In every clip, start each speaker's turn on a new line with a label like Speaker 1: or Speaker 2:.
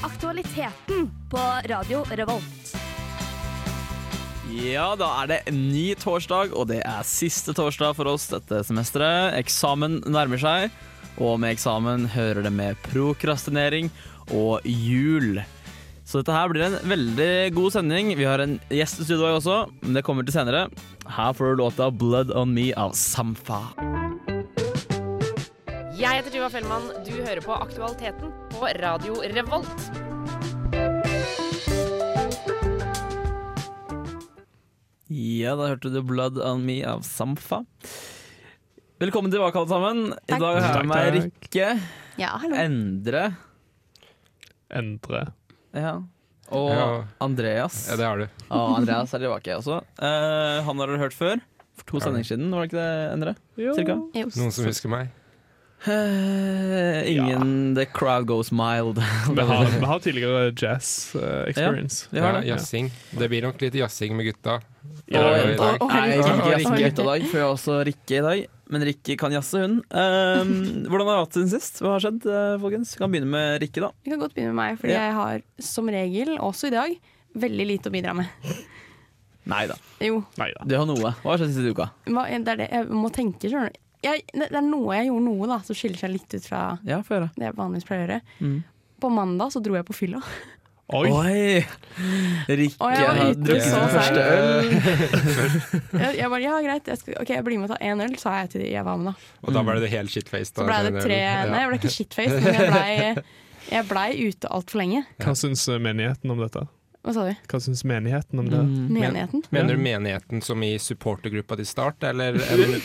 Speaker 1: aktualiteten på Radio Revolt.
Speaker 2: Ja, da er det en ny torsdag, og det er siste torsdag for oss dette semesteret. Eksamen nærmer seg, og med eksamen hører det med prokrastinering og jul. Så dette her blir en veldig god sending. Vi har en gjest i studio også, men det kommer til senere. Her får du låta 'Blood On Me' av Samfa.
Speaker 3: Jeg heter Tuva Fellmann. Du hører på Aktualiteten på Radio Revolt.
Speaker 2: Ja, da hørte du 'Blood On Me' av Samfa. Velkommen tilbake, alle sammen. I
Speaker 1: Takk.
Speaker 2: dag har jeg
Speaker 4: Takk,
Speaker 2: med meg Rikke,
Speaker 1: Ja, hallo.
Speaker 2: Endre
Speaker 4: Endre.
Speaker 2: ja, og
Speaker 4: Ja.
Speaker 2: Andreas.
Speaker 4: Ja, det har du.
Speaker 2: Ja, Andreas er tilbake også. Eh, han har dere hørt før. For to
Speaker 4: Ja.
Speaker 2: sendinger siden, var det ikke det, Endre? Cirka.
Speaker 4: Noen som husker meg?
Speaker 2: Eh, ingen The crowd goes mild.
Speaker 5: Vi har, vi har tidligere jazz eh, experience.
Speaker 2: Vi har det.
Speaker 4: Ja, jazzing. Det blir nok litt jazzing med gutta.
Speaker 5: I dag-
Speaker 4: Og- og-
Speaker 2: Nei, jeg
Speaker 4: Rikke.
Speaker 2: kan ikke jazze
Speaker 1: Og
Speaker 2: med
Speaker 1: Rikke.
Speaker 2: gutta i dag, for jeg har også Rikke i dag. Men Rikke kan jazze, hun. Eh, hvordan har vi hatt det siden sist? Hva har skjedd, eh, folkens? Vi kan begynne med Rikke, da.
Speaker 6: Vi kan godt begynne med meg, fordi
Speaker 2: Ja.
Speaker 6: jeg har som regel, også i dag, veldig lite å bidra med.
Speaker 2: Nei da.
Speaker 6: Jo,
Speaker 5: Neida.
Speaker 2: Du har noe. Hva har skjedd siste uka?
Speaker 6: hva- det er det jeg må tenke, skjønner du. Jeg, det det er noe jeg gjorde noe da, som skiller seg litt ut fra
Speaker 2: Ja, få høre.
Speaker 6: det jeg vanligvis pleier å gjøre.
Speaker 2: Mm.
Speaker 6: På mandag så dro jeg på fylla.
Speaker 5: Oi.
Speaker 2: Oi! Rikke
Speaker 6: Oi, jeg var
Speaker 2: har
Speaker 6: ute
Speaker 2: drukket
Speaker 6: så
Speaker 2: sin første øl.
Speaker 6: Jeg, jeg bare, ja greit, jeg, skal, ok, jeg blir med og tar én øl, sa jeg til de jeg var med da.
Speaker 4: Og da ble det helt shitface.
Speaker 6: Så blei det tre, nei jeg ble ikke shitface, men jeg blei jeg ble ute altfor lenge.
Speaker 5: Hva syns eh, menigheten om dette?
Speaker 6: Hva sa du?
Speaker 5: Hva syns menigheten om det?
Speaker 2: Mm.
Speaker 6: Mm. Menigheten?
Speaker 4: Mener du menigheten som i supportergruppa til Start, eller eller-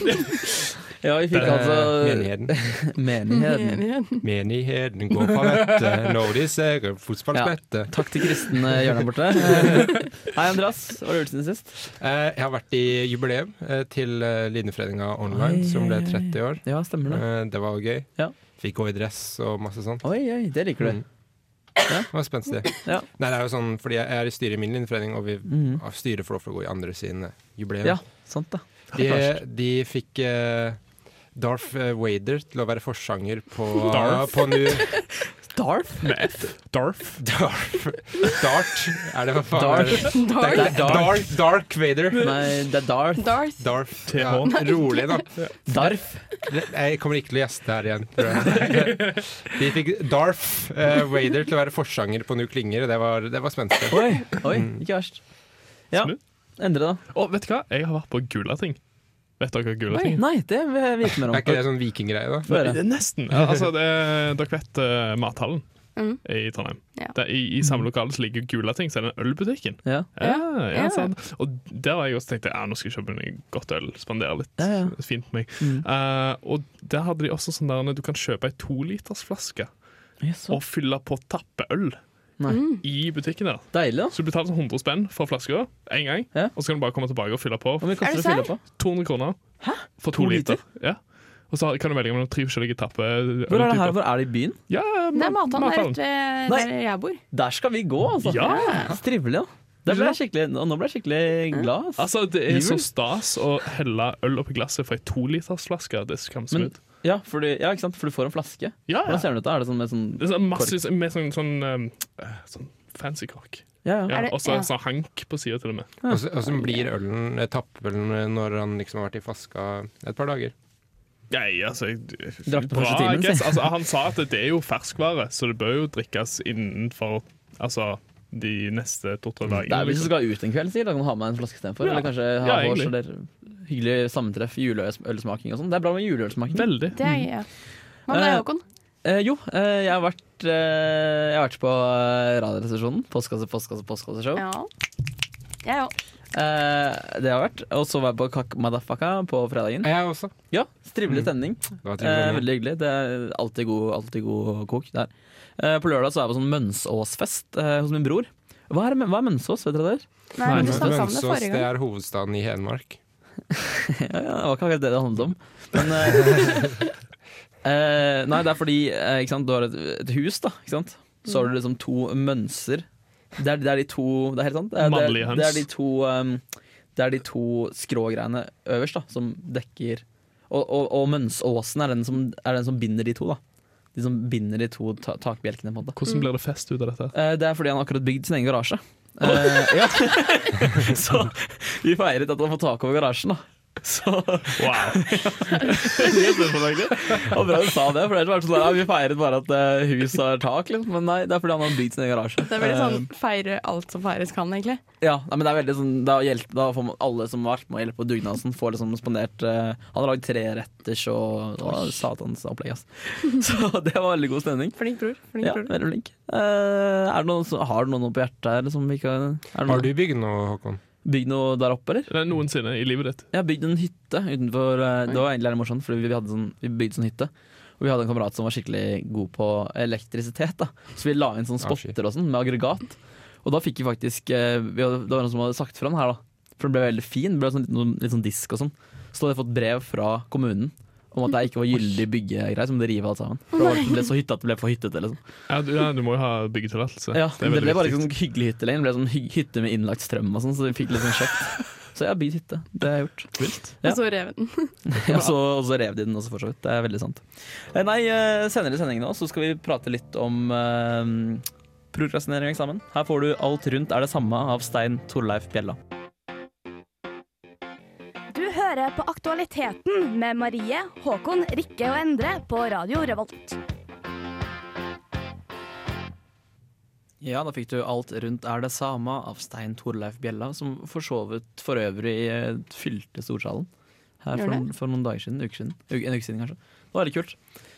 Speaker 2: Ja, vi fikk
Speaker 4: Eh,
Speaker 2: altså
Speaker 4: menigheten?
Speaker 2: menigheten.
Speaker 6: Menigheten.
Speaker 4: Menigheten går på vettet når de ser fotballspettet.
Speaker 2: Takk til kristen eh, hjørne borte. Eh, Hei, Andreas. Hva har du gjort siden sist?
Speaker 4: Eh, Jeg har vært i jubileum eh, til eh, Linjeforeninga
Speaker 2: Oi,
Speaker 4: Online, som ble
Speaker 2: oi, oi.
Speaker 4: 30 år.
Speaker 2: Ja, stemmer det.
Speaker 4: Eh, Det var jo gøy.
Speaker 2: Ja.
Speaker 4: Fikk gå i dress og masse sånn.
Speaker 2: Oi, oi, det liker du.
Speaker 4: Mm. Det var spenstig.
Speaker 2: Ja.
Speaker 4: Nei, det er jo sånn, fordi jeg er i styret i min linjeforening, og vi
Speaker 2: Mhm.
Speaker 4: av styret får lov til å gå i andre sine jubileum.
Speaker 2: Ja, sant da.
Speaker 4: de, de fikk eh, Darth Wader til å være forsanger på
Speaker 5: Darth?
Speaker 4: På nu,
Speaker 2: Darth?
Speaker 5: Med F. Darf.
Speaker 4: Darth Dart? Er det hva faen?
Speaker 2: Darth.
Speaker 4: er det? Det
Speaker 6: Dark.
Speaker 4: er ikke- Darth, Darth Vader.
Speaker 2: Nei, det er Darth.
Speaker 6: Darth.
Speaker 4: Darth.
Speaker 5: TH.
Speaker 4: Ja, rolig, da.
Speaker 2: Darf.
Speaker 4: Jeg kommer ikke til å gjeste her igjen, tror jeg. De fikk Darth eh, Vader til å være forsanger på Nu Klinger, og det var, det var spenstig.
Speaker 2: Oi, oi, ikke verst. Ja,
Speaker 5: Smooth.
Speaker 2: Endre, da.
Speaker 5: Og vet du hva? Jeg har vært på Gulating. Vet dere hva Gulating er?
Speaker 2: Nei, det vil jeg vite mer
Speaker 4: Er ikke
Speaker 2: om.
Speaker 4: det sånn vikinggreie, da?
Speaker 2: Få høre.
Speaker 5: Nesten. Ja, Altså, det er, dere vet eh, mathallen
Speaker 6: Mm.
Speaker 5: i Trondheim.
Speaker 6: Ja.
Speaker 5: Det er, i, I samme lokale som ligger Gulating, så er det den ølbutikken.
Speaker 2: Ja.
Speaker 5: Ja, ja,
Speaker 6: ja.
Speaker 5: sant. Og der var jeg også tenkte ja, nå skal jeg kjøpe meg godt øl, spandere litt
Speaker 2: Ja, ja.
Speaker 5: fint på meg.
Speaker 2: Mm.
Speaker 5: Eh, og der hadde de også sånn der du kan kjøpe ei tolitersflaske
Speaker 2: Jaså.
Speaker 5: og fylle på tappeøl
Speaker 2: Nei.
Speaker 6: Mm.
Speaker 5: i butikken der.
Speaker 2: Deilig, da.
Speaker 5: Så du betaler sånn 100 spenn for flaska én gang,
Speaker 2: Ja.
Speaker 5: og så kan du bare komme tilbake og fylle på.
Speaker 2: Hvor mye
Speaker 6: Er
Speaker 2: koster
Speaker 6: det
Speaker 2: det å fylle på?
Speaker 5: 200 kroner for
Speaker 2: To
Speaker 5: to liter. Ja. Og så kan du velge mellom tre forskjellige tappeøltyper.
Speaker 2: Hvor er det her? Hvor er det i byen?
Speaker 5: Ja,
Speaker 6: Det er
Speaker 5: mat-
Speaker 6: mathallen det er rett ved
Speaker 2: Nei.
Speaker 6: der jeg bor.
Speaker 2: Der skal vi gå, altså.
Speaker 5: Ja.
Speaker 2: Så Trivelig, da. Det ble jeg skikkelig, og nå ble jeg skikkelig glad. ass.
Speaker 5: Altså, Det er
Speaker 2: Jul.
Speaker 5: så stas å helle øl oppi glasset fra ei tolitersflaske. Det er
Speaker 2: Men,
Speaker 5: skamsmooth.
Speaker 2: ja, for du, ja, ikke sant? For du får en flaske.
Speaker 5: Ja, ja.
Speaker 2: Hvordan ser den ut? da? Er det sånn med sånn
Speaker 5: Det er sånn massevis med sånn, sånn, um, eh, sånn fancy kork.
Speaker 2: Ja, ja.
Speaker 5: Ja,
Speaker 6: Er det-
Speaker 5: og så
Speaker 6: ja.
Speaker 5: sånn hank på sida til og med.
Speaker 4: Og så- og så blir ølen, eh, tappølen eh, når han liksom har vært i flaska et par dager.
Speaker 5: Nei, altså jeg,
Speaker 2: Drakk på
Speaker 5: Bra,
Speaker 2: første timen,
Speaker 5: I guess. altså, Han sa at det er jo ferskvare, så det bør jo drikkes innenfor altså, de neste to-tre
Speaker 2: Det
Speaker 5: dagene.
Speaker 2: er Hvis du
Speaker 5: liksom.
Speaker 2: skal ut en kveld, sikkert, da kan du ha med en flaske istedenfor.
Speaker 5: Ja.
Speaker 2: Eller kanskje ha
Speaker 5: Ja,
Speaker 2: ja, vårs
Speaker 5: egentlig.
Speaker 2: eller hyggelig sammentreff, juleølsmaking og sånn. Det er bra med juleølsmaking.
Speaker 5: Veldig.
Speaker 6: Det er, ja. Hva med deg,
Speaker 2: Mm. Eh,
Speaker 6: Håkon?
Speaker 2: Eh, jo, eh, jeg har vært eh, Jeg har vært på eh, Radioresepsjonen. Postkasse, postkasse, postkasseshow.
Speaker 6: Ja. Jeg òg.
Speaker 2: Eh, det har jeg vært. Og så var jeg på Kak Madafaka på fredagen.
Speaker 4: Jeg også.
Speaker 2: Ja, Strivelig stemning.
Speaker 4: Det var
Speaker 2: Eh,
Speaker 4: trivelig.
Speaker 2: veldig hyggelig. Det er alltid god, alltid god kok der. Eh, på lørdag så er jeg på sånn Mønsåsfest eh, hos min bror. Hva er, hva er Mønsås, vet dere det? er?
Speaker 6: Nei, men du snakket om det
Speaker 4: Mønsås
Speaker 6: forrige
Speaker 4: det
Speaker 6: gang.
Speaker 4: er hovedstaden i Hedmark.
Speaker 2: Ja, ja, det var ikke akkurat det det handlet om. Men eh, eh, Nei, det er fordi eh, ikke sant? du har et, et hus, da. Ikke sant? Så har du liksom to mønser. Det er, det er de to Det er helt sant. Det er, det,
Speaker 5: Mannlige
Speaker 2: er-
Speaker 5: høns.
Speaker 2: det er de to um, Det er de to skrågreiene øverst da som dekker Og, og, og mønsåsen er den, som, er den som binder de to. da de som binder de to ta takbjelkene. på en måte.
Speaker 5: Hvordan blir det fest ut av dette?
Speaker 2: Eh, Det er fordi han akkurat bygd sin egen garasje. Eh, ja. Så vi feiret at han får tak over garasjen, da. Så
Speaker 5: Wow.
Speaker 2: og Bra du sa det, for ellers var det sånn ja, vi feiret bare at eh, hus har tak, liksom. Men nei, det er fordi han har bygd sin egen garasje.
Speaker 6: Det er veldig
Speaker 2: Eh,
Speaker 6: sånn feire alt som feires kan, egentlig.
Speaker 2: Ja, nei, men det er veldig sånn Da, hjelp, da får man alle som har vært med å hjelpe på dugnaden, får liksom spandert eh, Han har lagd treretters og, og satans opplegg, ass. Så det var veldig god stemning.
Speaker 6: Flink bror. Flink
Speaker 2: Ja,
Speaker 6: bror.
Speaker 2: veldig flink. Eh, er det noen, som- har du noe på hjertet her? Som vi kan, er det
Speaker 4: Har du
Speaker 2: noe,
Speaker 4: bygd noe, Håkon?
Speaker 2: bygd noe der oppe, eller?
Speaker 5: Det er noensinne i livet ditt.
Speaker 2: Jeg har bygd en hytte utenfor eh, Det var egentlig litt morsomt, for vi, hadde sånn, vi bygde sånn hytte. Og vi hadde en kamerat som var skikkelig god på elektrisitet. da Så vi la inn sånne
Speaker 4: Ah, shit.
Speaker 2: spotter og sånn med aggregat. Og da fikk vi faktisk eh, vi hadde, Det var noen som hadde sagt fra den her, da. For den ble veldig fin. Det ble sånn, litt, litt sånn disk og sånn. Så da hadde jeg fått brev fra kommunen om at det ikke var gyldig byggegreier, så måtte de rive alt sammen. For det var- liksom, det ble så hytte at det ble for hyttete. Liksom.
Speaker 5: Ja, du, ja, du må jo ha byggetillatelse.
Speaker 2: Ja, det,
Speaker 5: veldig
Speaker 2: ble bare ikke
Speaker 5: viktig.
Speaker 2: sånn hyggelig hytte lenger. Det ble sånn hy hytte med innlagt strøm og sånn, så vi fikk litt sånn sjokk. Så jeg har bygd hytte. Det har jeg gjort.
Speaker 5: Vilt.
Speaker 2: Ja.
Speaker 6: Og så rev den.
Speaker 2: Ja, så, og så rev de den også, for så vidt. Det er veldig sant. Eh, Nei, eh, senere i sendingen nå så skal vi prate litt om eh, prokrastinering og eksamen. Her får du Alt rundt er det samme av Stein Torleif Bjella.
Speaker 1: Du hører på Aktualiteten med Marie, Håkon, Rikke og Endre på Radio Revolt.
Speaker 2: Ja, da fikk du Alt rundt er det samme av Stein Torleif Bjella, som for så vidt for øvrig eh, fylte Storsalen her for,
Speaker 6: Gjorde
Speaker 2: noen- for noen dager siden. Uker siden. Uke- En uke siden, kanskje. Det var litt kult.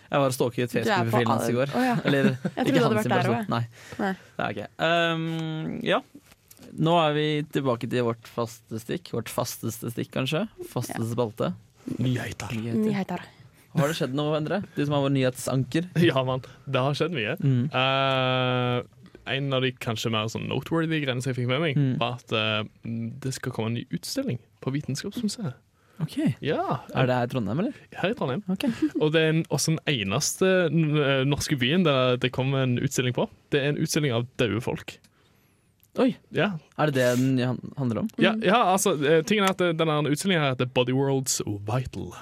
Speaker 2: Jeg var og stalket
Speaker 6: Du er på
Speaker 2: Facebook-profilen hans i
Speaker 6: all-
Speaker 2: går.
Speaker 6: Å, ja.
Speaker 2: Eller
Speaker 6: Jeg
Speaker 2: ikke
Speaker 6: trodde du hadde
Speaker 2: hans
Speaker 6: vært der
Speaker 2: person.
Speaker 6: òg.
Speaker 2: Nei.
Speaker 6: Nei.
Speaker 2: Det er ikke jeg. Um, ja. Nå er vi tilbake til vårt faste stikk. Vårt fasteste stikk, kanskje. Fasteste spalte.
Speaker 5: Nyheter.
Speaker 2: Nyheter. Har det skjedd noe, Endre? Du som er vår nyhetsanker.
Speaker 5: Ja, mann. Det har skjedd mye.
Speaker 2: Mm.
Speaker 5: Eh, en av de kanskje mer sånn noteworthy greiene som jeg fikk med meg,
Speaker 2: Mm.
Speaker 5: var at eh, det skal komme en ny utstilling på Vitenskapsmuseet. Ja,
Speaker 2: Er det her i Trondheim, eller?
Speaker 5: her i Trondheim.
Speaker 2: Ok.
Speaker 5: Og det er en, også den eneste eh, norske byen der det kommer en utstilling på. Det er en utstilling av døde folk.
Speaker 2: Oi,
Speaker 5: Ja,
Speaker 2: er det det den han- handler om?
Speaker 5: ja, ja altså, eh, tingen er at eh, denne utstillingen her heter Body Worlds Vital.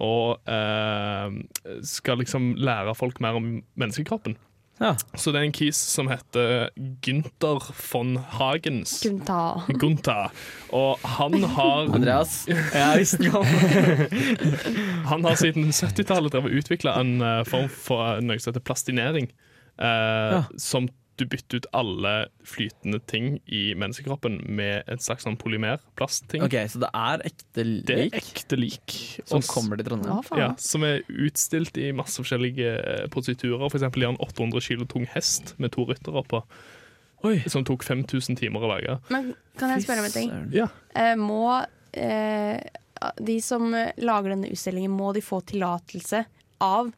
Speaker 5: Og eh, skal liksom lære folk mer om menneskekroppen.
Speaker 2: Ja.
Speaker 5: Så det er en kis som heter Günther von Hagens.
Speaker 6: Kunne ta
Speaker 5: Gunther. Og han har,
Speaker 2: Andreas, jeg visste ikke om
Speaker 5: han har siden 70-tallet drevet utvikla en eh, form for noe som heter plastinering. eh, Som du bytter ut alle flytende ting i menneskekroppen med et slags sånn polymerplastting.
Speaker 2: Ok, så det er ekte
Speaker 5: Det er
Speaker 2: lik
Speaker 5: ekte lik.
Speaker 2: som
Speaker 5: Og s-
Speaker 2: kommer til
Speaker 6: Hva
Speaker 2: Trondheim?
Speaker 5: Ja,
Speaker 6: faen?
Speaker 5: som er utstilt i masse forskjellige eh, positurer. For eksempel i en 800 kilo tung hest med to ryttere på,
Speaker 2: Oi.
Speaker 5: som tok 5000 timer å lage.
Speaker 6: Men kan jeg spørre om en ting?
Speaker 2: Søren.
Speaker 5: Ja.
Speaker 6: Eh, må eh, de som eh, lager denne utstillingen, må de få tillatelse av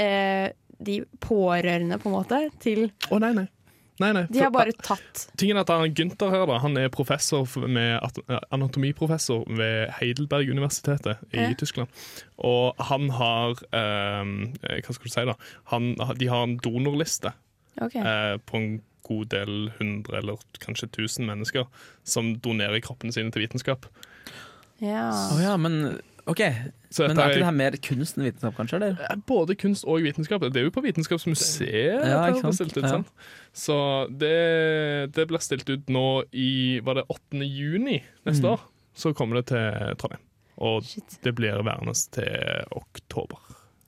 Speaker 6: eh, de pårørende, på en måte, til
Speaker 5: Å, nei, nei. Nei, nei.
Speaker 6: De har
Speaker 5: for-
Speaker 6: bare tatt
Speaker 5: Tingen er at han Günther her da, han er professor f- med, at- eh, anatomiprofessor ved Heidelberg-universitetet i
Speaker 6: Ja.
Speaker 5: Tyskland. Og han har ehm, eh, Hva skal du si, da? Han, de har en donorliste
Speaker 6: Ok.
Speaker 5: eh, på en god del hundre eller kanskje tusen mennesker som donerer kroppen sine til vitenskap.
Speaker 6: Ja.
Speaker 2: Å ja, men OK.
Speaker 5: Så
Speaker 2: Men
Speaker 5: dette
Speaker 2: er ikke det her mer kunst enn vitenskap, kanskje? Eller?
Speaker 5: Eh, Både kunst og vitenskap. Det er jo på Vitenskapsmuseet.
Speaker 2: Ja,
Speaker 5: dette
Speaker 2: ikke
Speaker 5: ble
Speaker 2: sant?
Speaker 5: stilt ut,
Speaker 2: Ja.
Speaker 5: sant? Så det, det blir stilt ut nå i Var det 8. juni neste
Speaker 2: Mm.
Speaker 5: år? Så kommer det til Trondheim. Og
Speaker 6: Shit.
Speaker 5: det blir værende til oktober.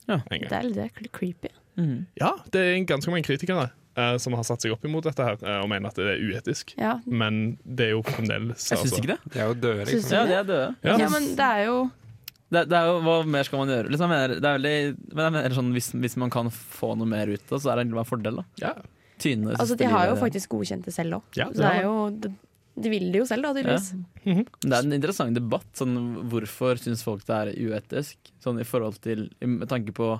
Speaker 2: Ja.
Speaker 5: En gang.
Speaker 6: Det er litt det er litt creepy.
Speaker 2: Mm.
Speaker 5: ja, det er ganske mange kritikere eh, som har satt seg opp imot dette her eh, og mener at det er uetisk.
Speaker 6: Ja.
Speaker 5: Men det er jo fremdeles altså.
Speaker 2: Jeg syns ikke det.
Speaker 4: Det er jo døde,
Speaker 6: Synes
Speaker 4: liksom.
Speaker 6: du
Speaker 2: Ja, de
Speaker 6: det?
Speaker 2: er døde.
Speaker 5: Ja.
Speaker 6: Ja, men det er jo
Speaker 2: Det, det er jo, Hva mer skal man gjøre? Liksom, jeg mener, det er veldig, men jeg mener sånn, hvis, hvis man kan få noe mer ut av så er det egentlig bare en fordel. da
Speaker 5: Ja.
Speaker 2: Tyne det
Speaker 6: Altså,
Speaker 2: siste
Speaker 6: de har jo
Speaker 2: livet.
Speaker 6: faktisk godkjent det selv òg.
Speaker 5: Ja,
Speaker 6: Så det er jo De, de vil det jo selv, da, tydeligvis.
Speaker 2: Det er en interessant debatt. Sånn, hvorfor syns folk det er uetisk? Sånn i forhold til Med tanke på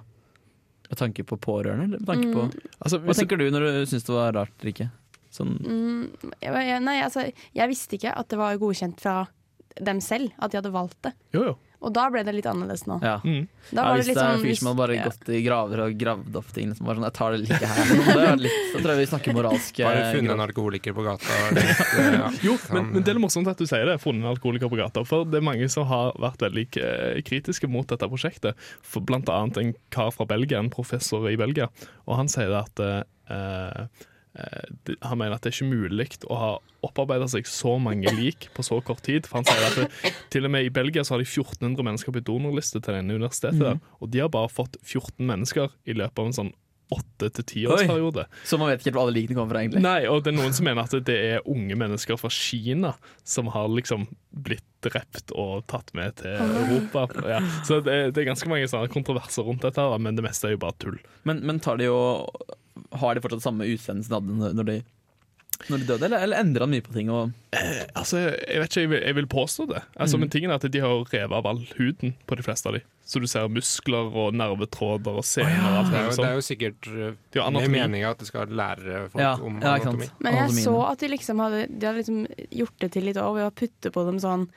Speaker 2: Med tanke på pårørende? Eller med tanke på
Speaker 5: Altså,
Speaker 2: Hva
Speaker 5: hvis du,
Speaker 2: tenker du når du syns det var rart, Rikke? Sånn,
Speaker 6: Mm, jeg, jeg- nei, altså, jeg visste ikke at det var godkjent fra dem selv, at de hadde valgt det.
Speaker 5: jo, jo.
Speaker 6: Og da ble det litt annerledes nå.
Speaker 2: Ja.
Speaker 5: Mm.
Speaker 6: Da
Speaker 2: ja,
Speaker 6: var
Speaker 2: hvis det
Speaker 6: det litt
Speaker 2: er en
Speaker 6: sånn
Speaker 2: fyr som har bare
Speaker 6: ja.
Speaker 2: gått i graver og gravd opp ting liksom, bare sånn, Jeg tar det like her. Det er litt, da tror jeg vi snakker eh, moralske
Speaker 4: Bare funnet en alkoholiker på gata. og tenkt, eh, ja.
Speaker 5: Jo, men, men det er litt morsomt at du sier det, funnet alkoholiker på gata. For det er mange som har vært veldig eh, kritiske mot dette prosjektet. For blant annet en kar fra Belgia, en professor i Belgia, og han sier det at eh, eh, det- han mener at det er ikke mulig å ha opparbeida seg så mange lik på så kort tid. For han sier at det, til og med i Belgia så har de 1400 mennesker på donorliste til denne universitetet. der, Og de har bare fått 14 mennesker i løpet av en sånn åtte til tiårsperiode.
Speaker 2: Så man vet ikke helt hvor alle likene kommer fra, egentlig.
Speaker 5: Nei, og det er noen som mener at det er unge mennesker fra Kina som har liksom blitt drept og tatt med til Europa. Ja. Så det, det er ganske mange sånne kontroverser rundt dette, her, da, men det meste er jo bare tull.
Speaker 2: Men, men tar de jo Har de fortsatt samme utseende som de hadde når- når de, når de døde, eller, eller endrer han mye på ting? Og,
Speaker 5: Altså, Jeg vet ikke, jeg vil, jeg vil påstå det. Altså, Men tingen er at de har jo revet av all huden på de fleste av de. Så du ser muskler og nervetråder og sener. og alt sånn.
Speaker 4: Det er,
Speaker 5: mulig
Speaker 4: jo, det er
Speaker 5: sånt.
Speaker 4: jo sikkert eh,
Speaker 5: Det er jo
Speaker 4: med
Speaker 5: anatomi.
Speaker 4: meninga at det skal lære folk
Speaker 2: ja,
Speaker 4: om
Speaker 2: ja, ikke sant.
Speaker 4: anatomi.
Speaker 6: Men jeg
Speaker 2: Anatomien.
Speaker 6: så at de liksom hadde, de hadde liksom gjort det til litt òg, ved å putte på dem sånn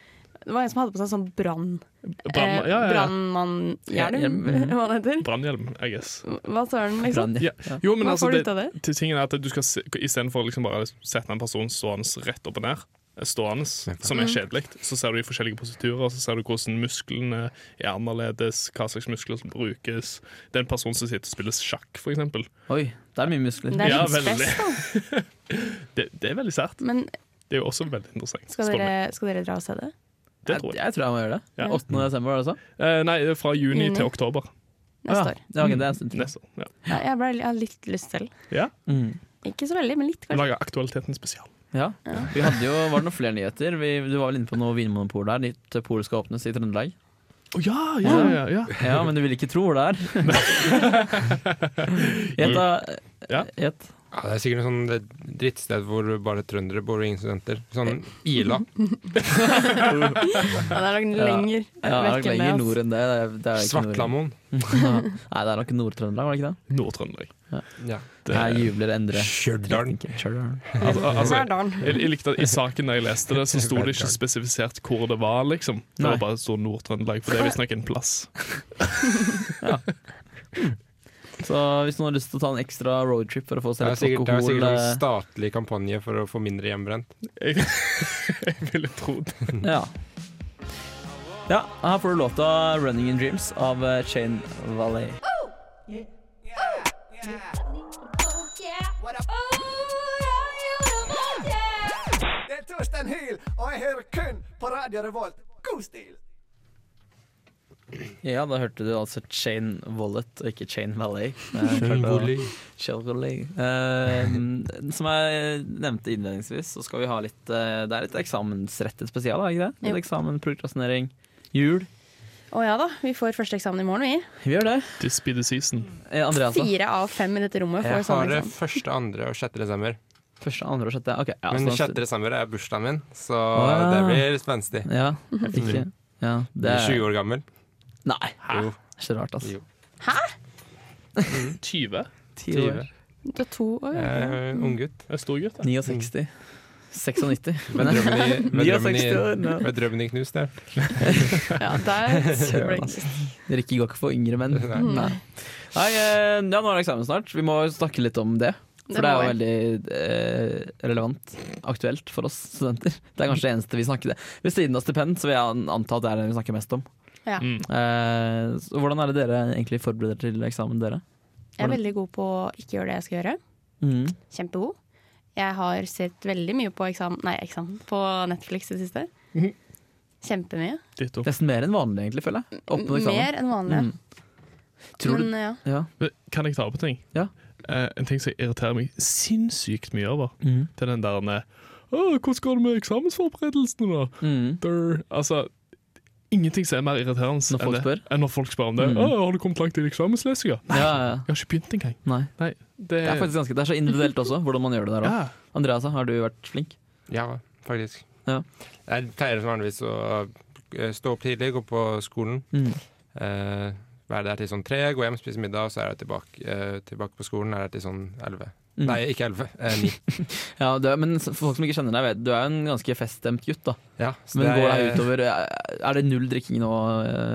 Speaker 6: Det var en som hadde på seg sånn brann...
Speaker 5: Brann-
Speaker 6: Eh,
Speaker 5: ja, ja, ja.
Speaker 6: Brannmannhjelm,
Speaker 2: Ja, hjelm, mhm.
Speaker 6: hva det heter.
Speaker 5: Brannhjelm, I guess.
Speaker 6: Hva søren, liksom.
Speaker 2: Brann-
Speaker 5: Ja. Jo, men
Speaker 6: Hva
Speaker 5: altså,
Speaker 6: får du
Speaker 5: det,
Speaker 6: ut av det?
Speaker 5: til tingen er at du skal se, istedenfor liksom bare sette en person stående rett opp og ned, eh, stående, som
Speaker 6: Mhm.
Speaker 5: er kjedelig, så ser du de forskjellige positurer, så ser du hvordan musklene er annerledes, hva slags muskler som brukes. Det er en person som sitter og spiller sjakk, for eksempel.
Speaker 2: Oi, det er mye muskler.
Speaker 6: Det er
Speaker 5: Ja,
Speaker 6: litt
Speaker 5: veldig.
Speaker 6: spes, da.
Speaker 5: Det, det er veldig sært.
Speaker 6: Men
Speaker 5: Det er jo også veldig interessant.
Speaker 6: skal
Speaker 5: spør du
Speaker 6: dere,
Speaker 5: meg.
Speaker 6: skal dere dra og se det?
Speaker 5: Det tror jeg.
Speaker 2: jeg tror jeg må gjøre det.
Speaker 5: Ja.
Speaker 2: 8. desember, var det så?
Speaker 5: Eh, nei, det er fra juni
Speaker 6: Juni.
Speaker 5: til oktober
Speaker 6: Neste år.
Speaker 2: Ja, ok, det er en stund til.
Speaker 5: neste år. Ja.
Speaker 6: Ja, jeg, ble, jeg hadde litt lyst selv.
Speaker 5: ja.
Speaker 2: Mm.
Speaker 6: Ikke så veldig, men litt,
Speaker 5: Vi
Speaker 6: kanskje.
Speaker 5: lager Aktualiteten spesial.
Speaker 2: Ja. Vi hadde jo, var det noen flere nyheter? Vi, du var vel inne på noe vinmonopol der. Nytt pol skal åpnes i Trøndelag.
Speaker 5: Å ja, ja, Ah, ja, ja.
Speaker 2: Ja, men du vil ikke tro hvor det er. Gjett, da.
Speaker 5: Ja.
Speaker 2: Gjett.
Speaker 4: Ja, det er sikkert en sånn det- drittsted hvor bare trøndere bor og ingen studenter. Sånn Ila.
Speaker 6: Ja, det er nok
Speaker 2: Ja.
Speaker 6: lenger
Speaker 2: Ja, det er
Speaker 6: vekk
Speaker 2: nok
Speaker 6: enn
Speaker 2: lenger
Speaker 6: ass.
Speaker 2: nord enn det. det, er, det er ikke nord-
Speaker 4: Svartlamoen.
Speaker 2: Nei, det er nok Nord-Trøndelag, var det ikke det?
Speaker 5: Nord-Trøndelag.
Speaker 4: Ja.
Speaker 5: Det-
Speaker 2: Jeg jubler Endre.
Speaker 4: Stjørdal.
Speaker 2: Stjørdal.
Speaker 5: Altså, altså,
Speaker 6: Verdalen.
Speaker 5: Jeg, jeg likte at I saken da jeg leste det, så sto det ikke spesifisert hvor det var. liksom Det
Speaker 2: Nei.
Speaker 5: var bare så Nord-Trøndelag, for det er visstnok en plass.
Speaker 2: Så hvis noen har lyst til å ta en ekstra roadtrip for å få
Speaker 4: Det
Speaker 2: seg
Speaker 4: er
Speaker 2: litt
Speaker 4: sikkert, det er
Speaker 2: alkohol
Speaker 4: sikkert
Speaker 2: eh,
Speaker 4: en statlig kampanje for å få mindre hjemmebrent.
Speaker 5: Jeg, jeg ville tro det.
Speaker 2: eh, Ja. ja, her får du låta 'Running in Dreams' av eh, Chain Valley.
Speaker 7: Det er Torstein Hyl, og jeg hører kun på Radio Revolt. God stil!
Speaker 2: Ja, da hørte du altså Chain Wallet, og ikke Chain Valley. Eh, Mm. Chevrolet. Eh, som jeg nevnte innledningsvis, så skal vi ha litt eh, Det er litt eksamensrettet spesial, er det ikke det?
Speaker 6: Jo.
Speaker 2: Litt eksamen, prokrastinering, jul.
Speaker 6: Å ja da, vi får første eksamen i morgen, vi.
Speaker 2: Vi gjør det.
Speaker 5: This be the season.
Speaker 2: Eh, Andreas, da?
Speaker 6: Fire av fem i dette rommet
Speaker 2: Jeg
Speaker 6: får
Speaker 4: Har
Speaker 6: sånn
Speaker 4: det
Speaker 6: eksamen.
Speaker 4: første, andre og sjette desember.
Speaker 2: Første, andre og sjette. Ok, ja,
Speaker 4: Men
Speaker 2: så-
Speaker 4: sjette desember er bursdagen min, så
Speaker 2: Ah.
Speaker 4: det blir spenstig.
Speaker 2: Ja, ikke ja,
Speaker 4: Mm. Du
Speaker 2: det er
Speaker 4: er
Speaker 2: Ah,
Speaker 4: 20 år gammel.
Speaker 2: Nei,
Speaker 4: Jo.
Speaker 2: ikke rart, altså.
Speaker 4: Jo.
Speaker 5: 20?
Speaker 2: Ti år.
Speaker 6: Du er to år.
Speaker 4: Eh, Unggutt.
Speaker 5: En stor gutt, da.
Speaker 2: 69. 96.
Speaker 4: Med Mm. drømmen i, med drømmen
Speaker 2: 69 år.
Speaker 4: i,
Speaker 2: nå.
Speaker 4: med drømmen i knust, det.
Speaker 6: Ja, der
Speaker 2: Søren, altså. Rikke går ikke for yngre menn.
Speaker 4: Nei.
Speaker 2: Nei. Nei, eh, ja, nå er det eksamen snart. Vi må snakke litt om det. For
Speaker 6: Det
Speaker 2: det er
Speaker 6: må
Speaker 2: jo veldig eh, relevant, aktuelt for oss studenter. Det er kanskje det eneste vi snakker det. Ved siden av stipend, så vil jeg an- anta at det er det vi snakker mest om.
Speaker 6: Ja.
Speaker 5: Mm.
Speaker 2: Eh, så hvordan er det dere egentlig forbereder til eksamen, dere?
Speaker 6: Jeg er veldig god på å ikke gjøre det jeg skal gjøre.
Speaker 2: Mm.
Speaker 6: Kjempegod. Jeg har sett veldig mye på eksamen, nei, eksamen på Netflix i det siste. Kjempemye.
Speaker 5: Ditt opp.
Speaker 2: Nesten mer enn vanlig, egentlig, føler jeg. Opp mot eksamen.
Speaker 6: Mer enn vanlig.
Speaker 2: Mm. Tror du
Speaker 6: Men ja.
Speaker 2: Ja.
Speaker 5: Kan jeg ta opp en ting?
Speaker 2: Ja.
Speaker 5: Eh, en ting som irriterer meg sinnssykt mye over,
Speaker 2: Mm.
Speaker 5: det er den der eh, «Å, Hvordan går det med eksamensforberedelsene, da?
Speaker 2: Mm.
Speaker 5: Der. Altså, ingenting som er mer irriterende
Speaker 2: Når folk
Speaker 5: enn, det,
Speaker 2: spør.
Speaker 5: enn når folk spør om det.
Speaker 2: Mm.
Speaker 5: «Å, 'Har du kommet langt i eksamenslesinga?'
Speaker 2: ja, ja, ja.
Speaker 5: Jeg har ikke begynt engang.
Speaker 2: Nei.
Speaker 5: Nei, det,
Speaker 2: Det er faktisk ganske Det er så individuelt også, hvordan man gjør det der òg.
Speaker 5: ja.
Speaker 2: Andreas, har du vært flink?
Speaker 4: Ja, faktisk.
Speaker 2: Ja.
Speaker 4: Jeg pleier som vanligvis å eh, stå opp tidlig, gå på skolen,
Speaker 2: Mm.
Speaker 4: eh, være der til sånn tre, gå hjem, spise middag, og så er jeg tilbake, eh, tilbake på skolen er jeg til sånn elleve. Nei, ikke elleve. Eh, ni.
Speaker 2: Mm. Ja, du er, men for folk som ikke kjenner deg, vet du er en ganske feststemt gutt, da.
Speaker 4: Ja, så
Speaker 2: Men
Speaker 4: det er-
Speaker 2: går deg utover Er det null drikking nå,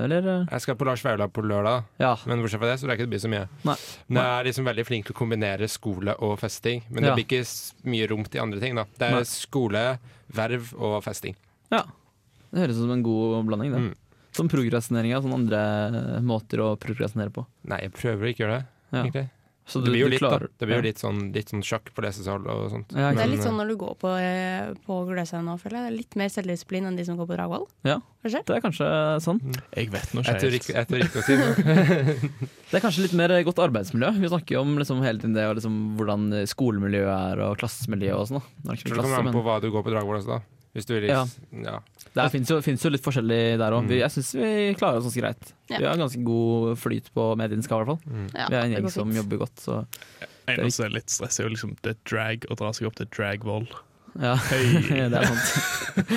Speaker 2: eller?
Speaker 4: Jeg skal på Lars Vaular på lørdag,
Speaker 2: Ja.
Speaker 4: men bortsett fra det så rekker det ikke bli så mye.
Speaker 2: Nei.
Speaker 4: Men jeg er liksom veldig flink til å kombinere skole og festing, men
Speaker 2: Ja.
Speaker 4: det blir ikke s- mye rom til andre ting. da Det er
Speaker 2: Nei.
Speaker 4: skole, verv og festing.
Speaker 2: ja. Det høres ut som en god blanding, det. Sånn
Speaker 4: Mm.
Speaker 2: Som progressinering av sånne andre måter å progressinere på.
Speaker 4: Nei, jeg prøver å ikke gjøre det,
Speaker 2: Ja.
Speaker 4: egentlig.
Speaker 2: Så
Speaker 4: Det blir jo litt, da.
Speaker 2: klarer-
Speaker 4: Det blir jo
Speaker 2: Ja.
Speaker 4: litt sånn, litt sånn sjakk på lesesal og sånt.
Speaker 2: Ja,
Speaker 6: Det er
Speaker 4: Men,
Speaker 6: litt
Speaker 4: eh,
Speaker 6: sånn når du går på, eh, på Gløshaugen nå, føler jeg. Det er litt mer selvdisiplin enn de som går på Dragvoll.
Speaker 2: Ja.
Speaker 6: Kanskje?
Speaker 2: Det er kanskje sånn.
Speaker 5: Jeg vet nå
Speaker 4: Jeg tør ikke,
Speaker 5: ikke helt.
Speaker 4: jeg tør ikke å si det.
Speaker 2: Det er kanskje litt mer godt arbeidsmiljø. Vi snakker jo om liksom hele tiden det og liksom hvordan skolemiljøet er og klassemiljøet og sånn. da. Nå er det
Speaker 4: Jeg
Speaker 2: ikke mye
Speaker 4: tror det kommer
Speaker 2: klasse,
Speaker 4: an på
Speaker 2: men
Speaker 4: hva du går på Dragvoll også, da. Hvis du vil
Speaker 2: Ja.
Speaker 4: ja.
Speaker 2: det er- finnes jo, finnes jo litt forskjellig der òg.
Speaker 4: Mm.
Speaker 2: Jeg syns vi klarer oss ganske greit.
Speaker 6: Ja.
Speaker 2: Vi har ganske god flyt på medienska, i hvert fall.
Speaker 4: Mm.
Speaker 6: Ja,
Speaker 2: Vi er en
Speaker 6: det går
Speaker 2: gjeng som
Speaker 6: fint.
Speaker 2: jobber godt, så
Speaker 5: Eneste som er litt stress, er jo liksom det er drag å dra seg opp til dragvoll.
Speaker 2: ja.
Speaker 5: Hei.
Speaker 2: det er sant.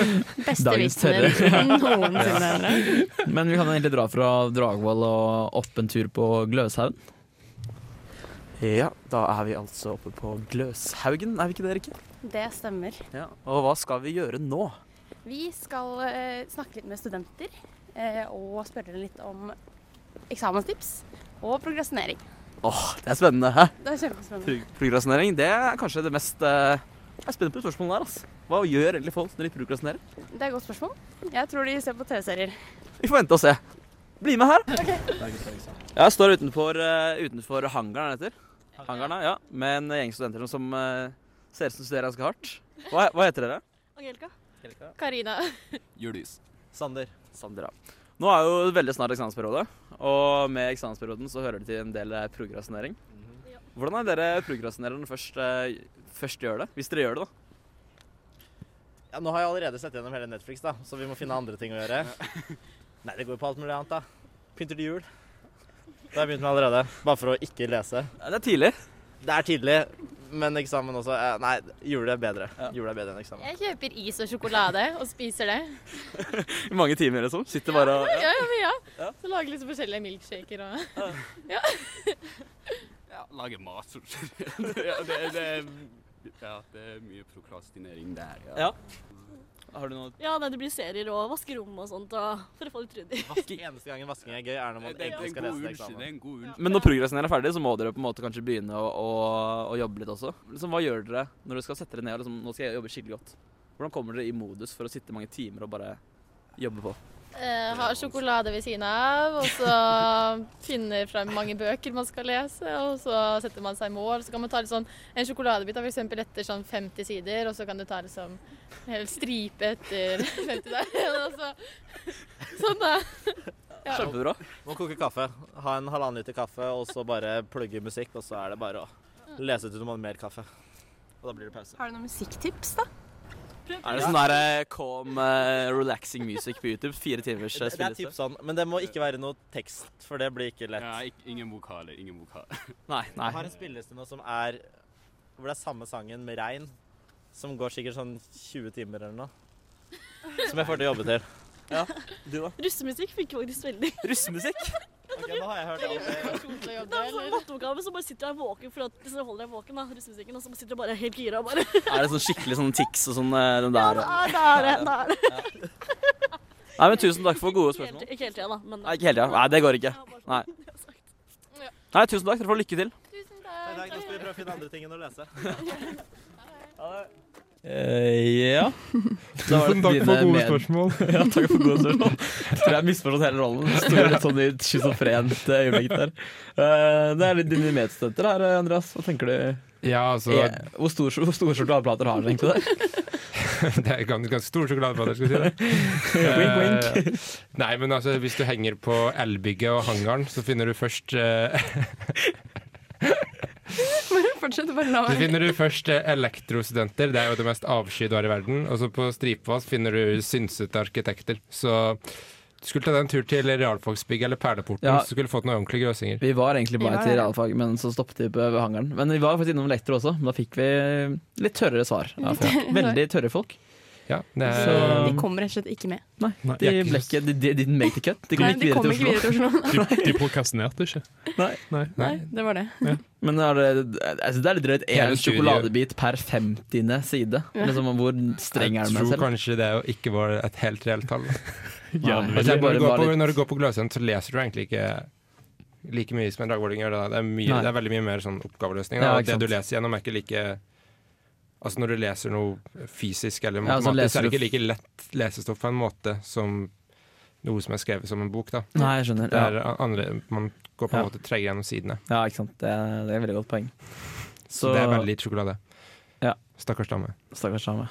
Speaker 6: Beste
Speaker 2: Dagens
Speaker 6: vitsen din noensinne. Endre.
Speaker 2: Men vi kan egentlig dra fra Dragvoll og opp en tur på Gløshaugen. Ja, da er vi altså oppe på Gløshaugen, er vi ikke det, Rikke?
Speaker 8: Det stemmer.
Speaker 2: Ja. Og hva skal vi gjøre nå?
Speaker 8: Vi skal eh, snakke litt med studenter eh, og spørre litt om eksamenstips og progresjonering.
Speaker 2: Åh, det er spennende. Hæ?
Speaker 8: Det er kjempespennende.
Speaker 2: Pro- Progresjonering, det er kanskje det mest eh, Jeg er spent på spørsmålet der, altså. Hva gjør egentlig folk når de progresjonerer?
Speaker 8: Det er et godt spørsmål. Jeg tror de ser på TV-serier.
Speaker 2: Vi får vente og se. Bli med her. Ja, jeg står utenfor, eh, utenfor hangaren, heter Hangaren, ja. Med en gjeng studenter som eh, ser ut som studerer ganske hardt. Hva, hva heter dere?
Speaker 8: Angelika. Karina.
Speaker 2: Julius. Sander. Sander, ja. Nå er jo veldig snart eksamensperiode, og med eksamensperioden så hører det til en del eh, progresjonering. Hvordan er dere prograsjonerer når først, eh, først gjør det? Hvis dere gjør det, da.
Speaker 9: Ja, nå har jeg allerede sett gjennom hele Netflix, da, så vi må finne andre ting å gjøre. Nei, det går jo på alt mulig annet, da. Pynter til jul. Det har jeg begynt med allerede, bare for å ikke lese.
Speaker 2: Ja, Det er tidlig.
Speaker 9: Det er tidlig, men eksamen også eh, Nei, jul er bedre.
Speaker 2: Ja.
Speaker 9: Jul er bedre enn eksamen.
Speaker 8: Jeg kjøper is og sjokolade og spiser det.
Speaker 2: I mange timer, liksom. Sitter bare og ja.
Speaker 8: ja, ja.
Speaker 2: Ja.
Speaker 8: Så lager liksom forskjellige milkshaker og
Speaker 10: Ja, lage mat. som- ja, det, det, ja, det er mye prokrastinering der.
Speaker 2: Ja. Har du noe
Speaker 8: Ja, nei, det blir serier og vaske rom og sånt for å få litt ryddig.
Speaker 9: Vasking. Eneste gangen vasking er gøy, er når man
Speaker 10: Det, det, er
Speaker 9: egentlig
Speaker 10: en
Speaker 9: skal
Speaker 10: god
Speaker 9: lese til
Speaker 10: unnskyld- det
Speaker 9: eksamen.
Speaker 10: er en god unnskyldning.
Speaker 2: Men når progresjonen er ferdig, så må dere på en måte kanskje begynne å, å, å jobbe litt også. Liksom, hva gjør dere når dere skal sette dere ned og liksom, nå skal jeg jobbe skikkelig godt? Hvordan kommer dere i modus for å sitte mange timer og bare jobbe på?
Speaker 8: Eh, har sjokolade ved siden av, og så finner frem mange bøker man skal lese, og så setter man seg mål. Så kan man ta litt sånn, en sjokoladebit er for eksempel etter sånn 50 sider, og så kan du ta liksom en hel stripe etter 50 der. og så, sånn da.
Speaker 2: Kjempebra.
Speaker 9: Må koke kaffe. Ha en halvannen liter kaffe, og så bare plugge musikk, og så er det bare å lese til du må ha mer kaffe. Og da blir det pause.
Speaker 6: Har du noen musikktips, da?
Speaker 2: Er det sånn der eh, calm, eh, relaxing music på YouTube? Fire timers eh,
Speaker 9: Det, det er
Speaker 2: spilleliste?
Speaker 9: tips sånn, men det må ikke være noe tekst, for det blir ikke lett.
Speaker 10: Ja, ikke, ingen vokaler. Ingen vokaler.
Speaker 2: Nei, nei.
Speaker 9: Jeg har en spilleliste nå som er Hvor det er samme sangen med regn. Som går sikkert sånn 20 timer eller noe. Som jeg får til å jobbe til.
Speaker 2: Du da?
Speaker 8: Russemusikk funker faktisk veldig.
Speaker 2: Russemusikk?
Speaker 9: Ok, nå har jeg hørt alt det.
Speaker 8: matteoppgave, så bare sitter jeg våken, for at liksom holder deg våken da, russemusikken, og så sitter jeg bare helt gira og bare,
Speaker 2: Er det sånn skikkelig sånn tics og sånn eh, den der?
Speaker 8: det er det, det er det.
Speaker 2: Nei, men tusen takk for gode spørsmål.
Speaker 8: Ikke helt igjen da, men...
Speaker 2: Nei, ikke hele tida. Nei, det går ikke. Nei.
Speaker 8: sånn.
Speaker 2: Nei, tusen takk. Dere får lykke til.
Speaker 9: Nei, Nå skal vi prøve å finne andre ting enn å lese.
Speaker 2: Eh, ja. Da var det dine med-
Speaker 4: spørsmål.
Speaker 2: Ja, takk for gode spørsmål. Jeg tror jeg misforstått hele rollen. Det Står litt sånn i et schizofrent eh, øyeblikk der. Eh, Det er litt dine medstudenter her, eh, Andreas. Hva tenker du?
Speaker 4: Ja, altså,
Speaker 2: Eh, Hvor stor- hvor store sjokoladeplater har dere egentlig der?
Speaker 4: Det er ganske, ganske stor sjokoladeplater, skal vi si det.
Speaker 2: Wink,
Speaker 4: Eh, Nei, men altså, hvis du henger på elbygget og hangaren, så finner du først eh,
Speaker 6: Fortsett, bare la
Speaker 4: Så
Speaker 6: meg.
Speaker 4: finner du først eh, elektrostudenter, det er jo det mest avsky du har i verden. Og så på Stripevass finner du synsete arkitekter. Så du skulle ta deg en tur til realfagsbygget eller Perleporten,
Speaker 2: Ja.
Speaker 4: så skulle du fått noen ordentlige grøsinger.
Speaker 2: Vi var egentlig
Speaker 6: Vi
Speaker 2: bare
Speaker 6: var
Speaker 2: til
Speaker 6: der, ja.
Speaker 2: realfag, men så stoppet vi på hangaren. Men vi var faktisk innom elektro også, men da fikk vi litt tørrere svar. Ja, folk. Veldig tørre folk.
Speaker 4: Ja, det er,
Speaker 2: Så-
Speaker 6: De kom rett og slett ikke med.
Speaker 5: Nei,
Speaker 2: De
Speaker 5: jeg-
Speaker 2: ble ikke De, de, de make the cut. De kom
Speaker 6: Nei, de
Speaker 2: ikke
Speaker 6: kom
Speaker 2: videre
Speaker 6: ikke
Speaker 2: til Oslo.
Speaker 6: videre til Oslo.
Speaker 5: De, de prokrastinerte ikke.
Speaker 2: Nei.
Speaker 5: Nei.
Speaker 6: Nei, det var det.
Speaker 2: Men er det, jeg synes det er litt drøyt.
Speaker 4: Hele
Speaker 2: Én
Speaker 4: studiet.
Speaker 2: sjokoladebit per femtiende side. Liksom, hvor streng er du med
Speaker 4: jeg
Speaker 2: deg
Speaker 4: tror
Speaker 2: selv?
Speaker 4: kanskje det jo ikke var et helt reelt tall. da.
Speaker 5: Gjerne
Speaker 2: Jeg tror
Speaker 5: vil jeg.
Speaker 2: bare
Speaker 4: Når du
Speaker 2: var
Speaker 4: går på,
Speaker 2: litt-
Speaker 4: når du går på Gløshaugen, så leser du egentlig ikke like mye som en dagboarding gjør. Da. Det, er mye,
Speaker 2: Nei.
Speaker 4: det er veldig mye mer sånn oppgaveløsning.
Speaker 2: Ja,
Speaker 4: Da.
Speaker 2: ikke sant.
Speaker 4: det du leser gjennom, er ikke like Altså Når du leser noe fysisk eller
Speaker 2: Ja, så
Speaker 4: matematisk, så
Speaker 2: leser
Speaker 4: er det
Speaker 2: du-
Speaker 4: ikke like lett lesestoff på en måte som noe som er skrevet som en bok. da
Speaker 2: Nei, jeg skjønner.
Speaker 4: Det
Speaker 2: Ja.
Speaker 4: er an- andre, Man går på en
Speaker 2: Ja.
Speaker 4: måte tregere gjennom sidene.
Speaker 2: Ja, ikke sant. Det er, det er et veldig godt poeng.
Speaker 4: Så det er veldig lite sjokolade.
Speaker 2: Ja.
Speaker 4: Stakkars dame.
Speaker 2: Stakkars dame.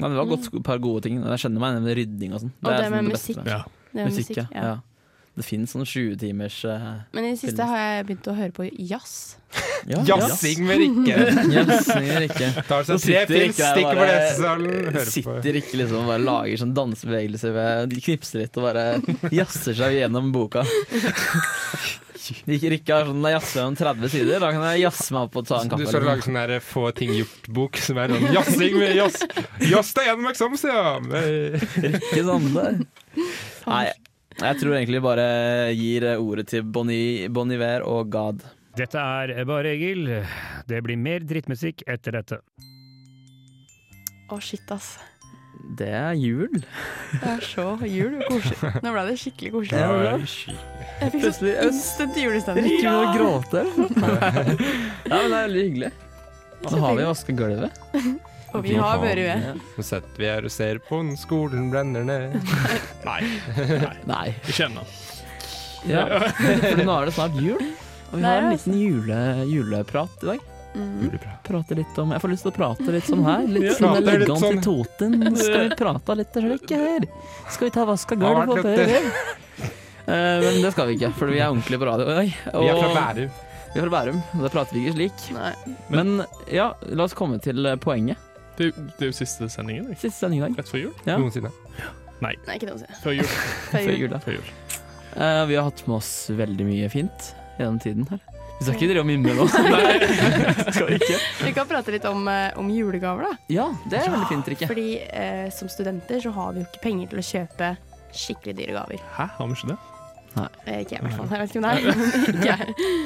Speaker 2: Nei, men det var godt, et par gode ting. Jeg kjenner meg igjen med rydding og sånn.
Speaker 6: Mm. Og det
Speaker 2: sånn
Speaker 6: med
Speaker 2: beste.
Speaker 6: musikk.
Speaker 5: Ja.
Speaker 6: Det var musikk, ja.
Speaker 2: ja. Det fins sånn 20-timers eh,
Speaker 6: Men i det siste har jeg begynt å høre på jazz.
Speaker 2: ja,
Speaker 4: Jazzing med Rikke!
Speaker 2: Jazzing er ikke
Speaker 4: Tar
Speaker 2: Nå
Speaker 4: seg tre
Speaker 2: sitter ikke jeg
Speaker 4: pils, stikker på
Speaker 2: bare-
Speaker 4: lesesalen, hører på
Speaker 2: Sitter ikke liksom og bare lager sånn dansebevegelser ved De knipser litt og bare jazzer seg gjennom boka. Ikke Rikke har sånn jeg jazzer gjennom 30 sider, da kan jeg jazze meg opp og ta en
Speaker 4: Du
Speaker 2: kaffe.
Speaker 4: skal lage
Speaker 2: liksom.
Speaker 4: sånn der få ting gjort-bok som er sånn jazzing med jazz. Jazz deg gjennom eksamen, ja! Men-
Speaker 2: Ikke sånn det. Nei, jeg tror egentlig bare gir ordet til Bon I- Bon Iver og God.
Speaker 11: Dette er Bare Egil. Det blir mer drittmusikk etter dette.
Speaker 6: Å, shit, ass.
Speaker 2: Det er jul.
Speaker 6: Det er så jul og koselig. Nå ble det skikkelig koselig.
Speaker 4: Ja,
Speaker 6: Jeg fikk sånn instant julestemning.
Speaker 2: Rikke begynner å gråte. Ja, men det er veldig hyggelig. Nå har vi vaska gulvet.
Speaker 6: Og vi har vært ved.
Speaker 4: Nå setter vi her og ser på den, skolen brenner ned.
Speaker 5: Nei,
Speaker 2: Nei.
Speaker 5: ikke ennå.
Speaker 2: Ja, for nå er det snart jul. Og vi
Speaker 6: Det
Speaker 2: har
Speaker 6: er
Speaker 2: en
Speaker 6: det,
Speaker 2: liten jule, juleprat i dag.
Speaker 6: Mm.
Speaker 2: Mm. Prate litt om, jeg får lyst til å prate litt sånn her. Litt sånn
Speaker 4: Prater litt
Speaker 2: elegant i
Speaker 4: sånn.
Speaker 2: Toten. Skal vi prate litt slik her? Skal vi ta vaska
Speaker 4: Har
Speaker 2: gulv
Speaker 4: vært
Speaker 2: og
Speaker 4: litt-
Speaker 2: pører? Eh, men det skal vi ikke, for vi er ordentlig på radio. Oi, og
Speaker 4: Vi er fra Bærum.
Speaker 2: vi er fra Bærum, og da prater vi ikke slik.
Speaker 6: Nei.
Speaker 2: Men ja, la oss komme til poenget.
Speaker 5: Det, er jo- det er jo siste sendingen. ikke?
Speaker 2: Siste sending i dag.
Speaker 5: Rett før jul.
Speaker 2: Ja.
Speaker 4: Noensinne.
Speaker 6: Nei, ikke noe å si.
Speaker 5: Før jul.
Speaker 2: Før jul, da.
Speaker 5: Før jul.
Speaker 2: Eh, vi har hatt med oss veldig mye fint gjennom tiden her. Vi skal ikke drive og mimre nå. skal vi ikke?
Speaker 6: Vi kan prate litt om, eh, om julegaver, da.
Speaker 2: Ja, det er veldig fint, Rikke.
Speaker 6: Fordi eh, som studenter så har vi jo ikke penger til å kjøpe skikkelig dyre gaver.
Speaker 5: Hæ, har vi ikke det?
Speaker 6: Eh, ikke jeg, i hvert fall. Jeg vet ikke om det er. men ikke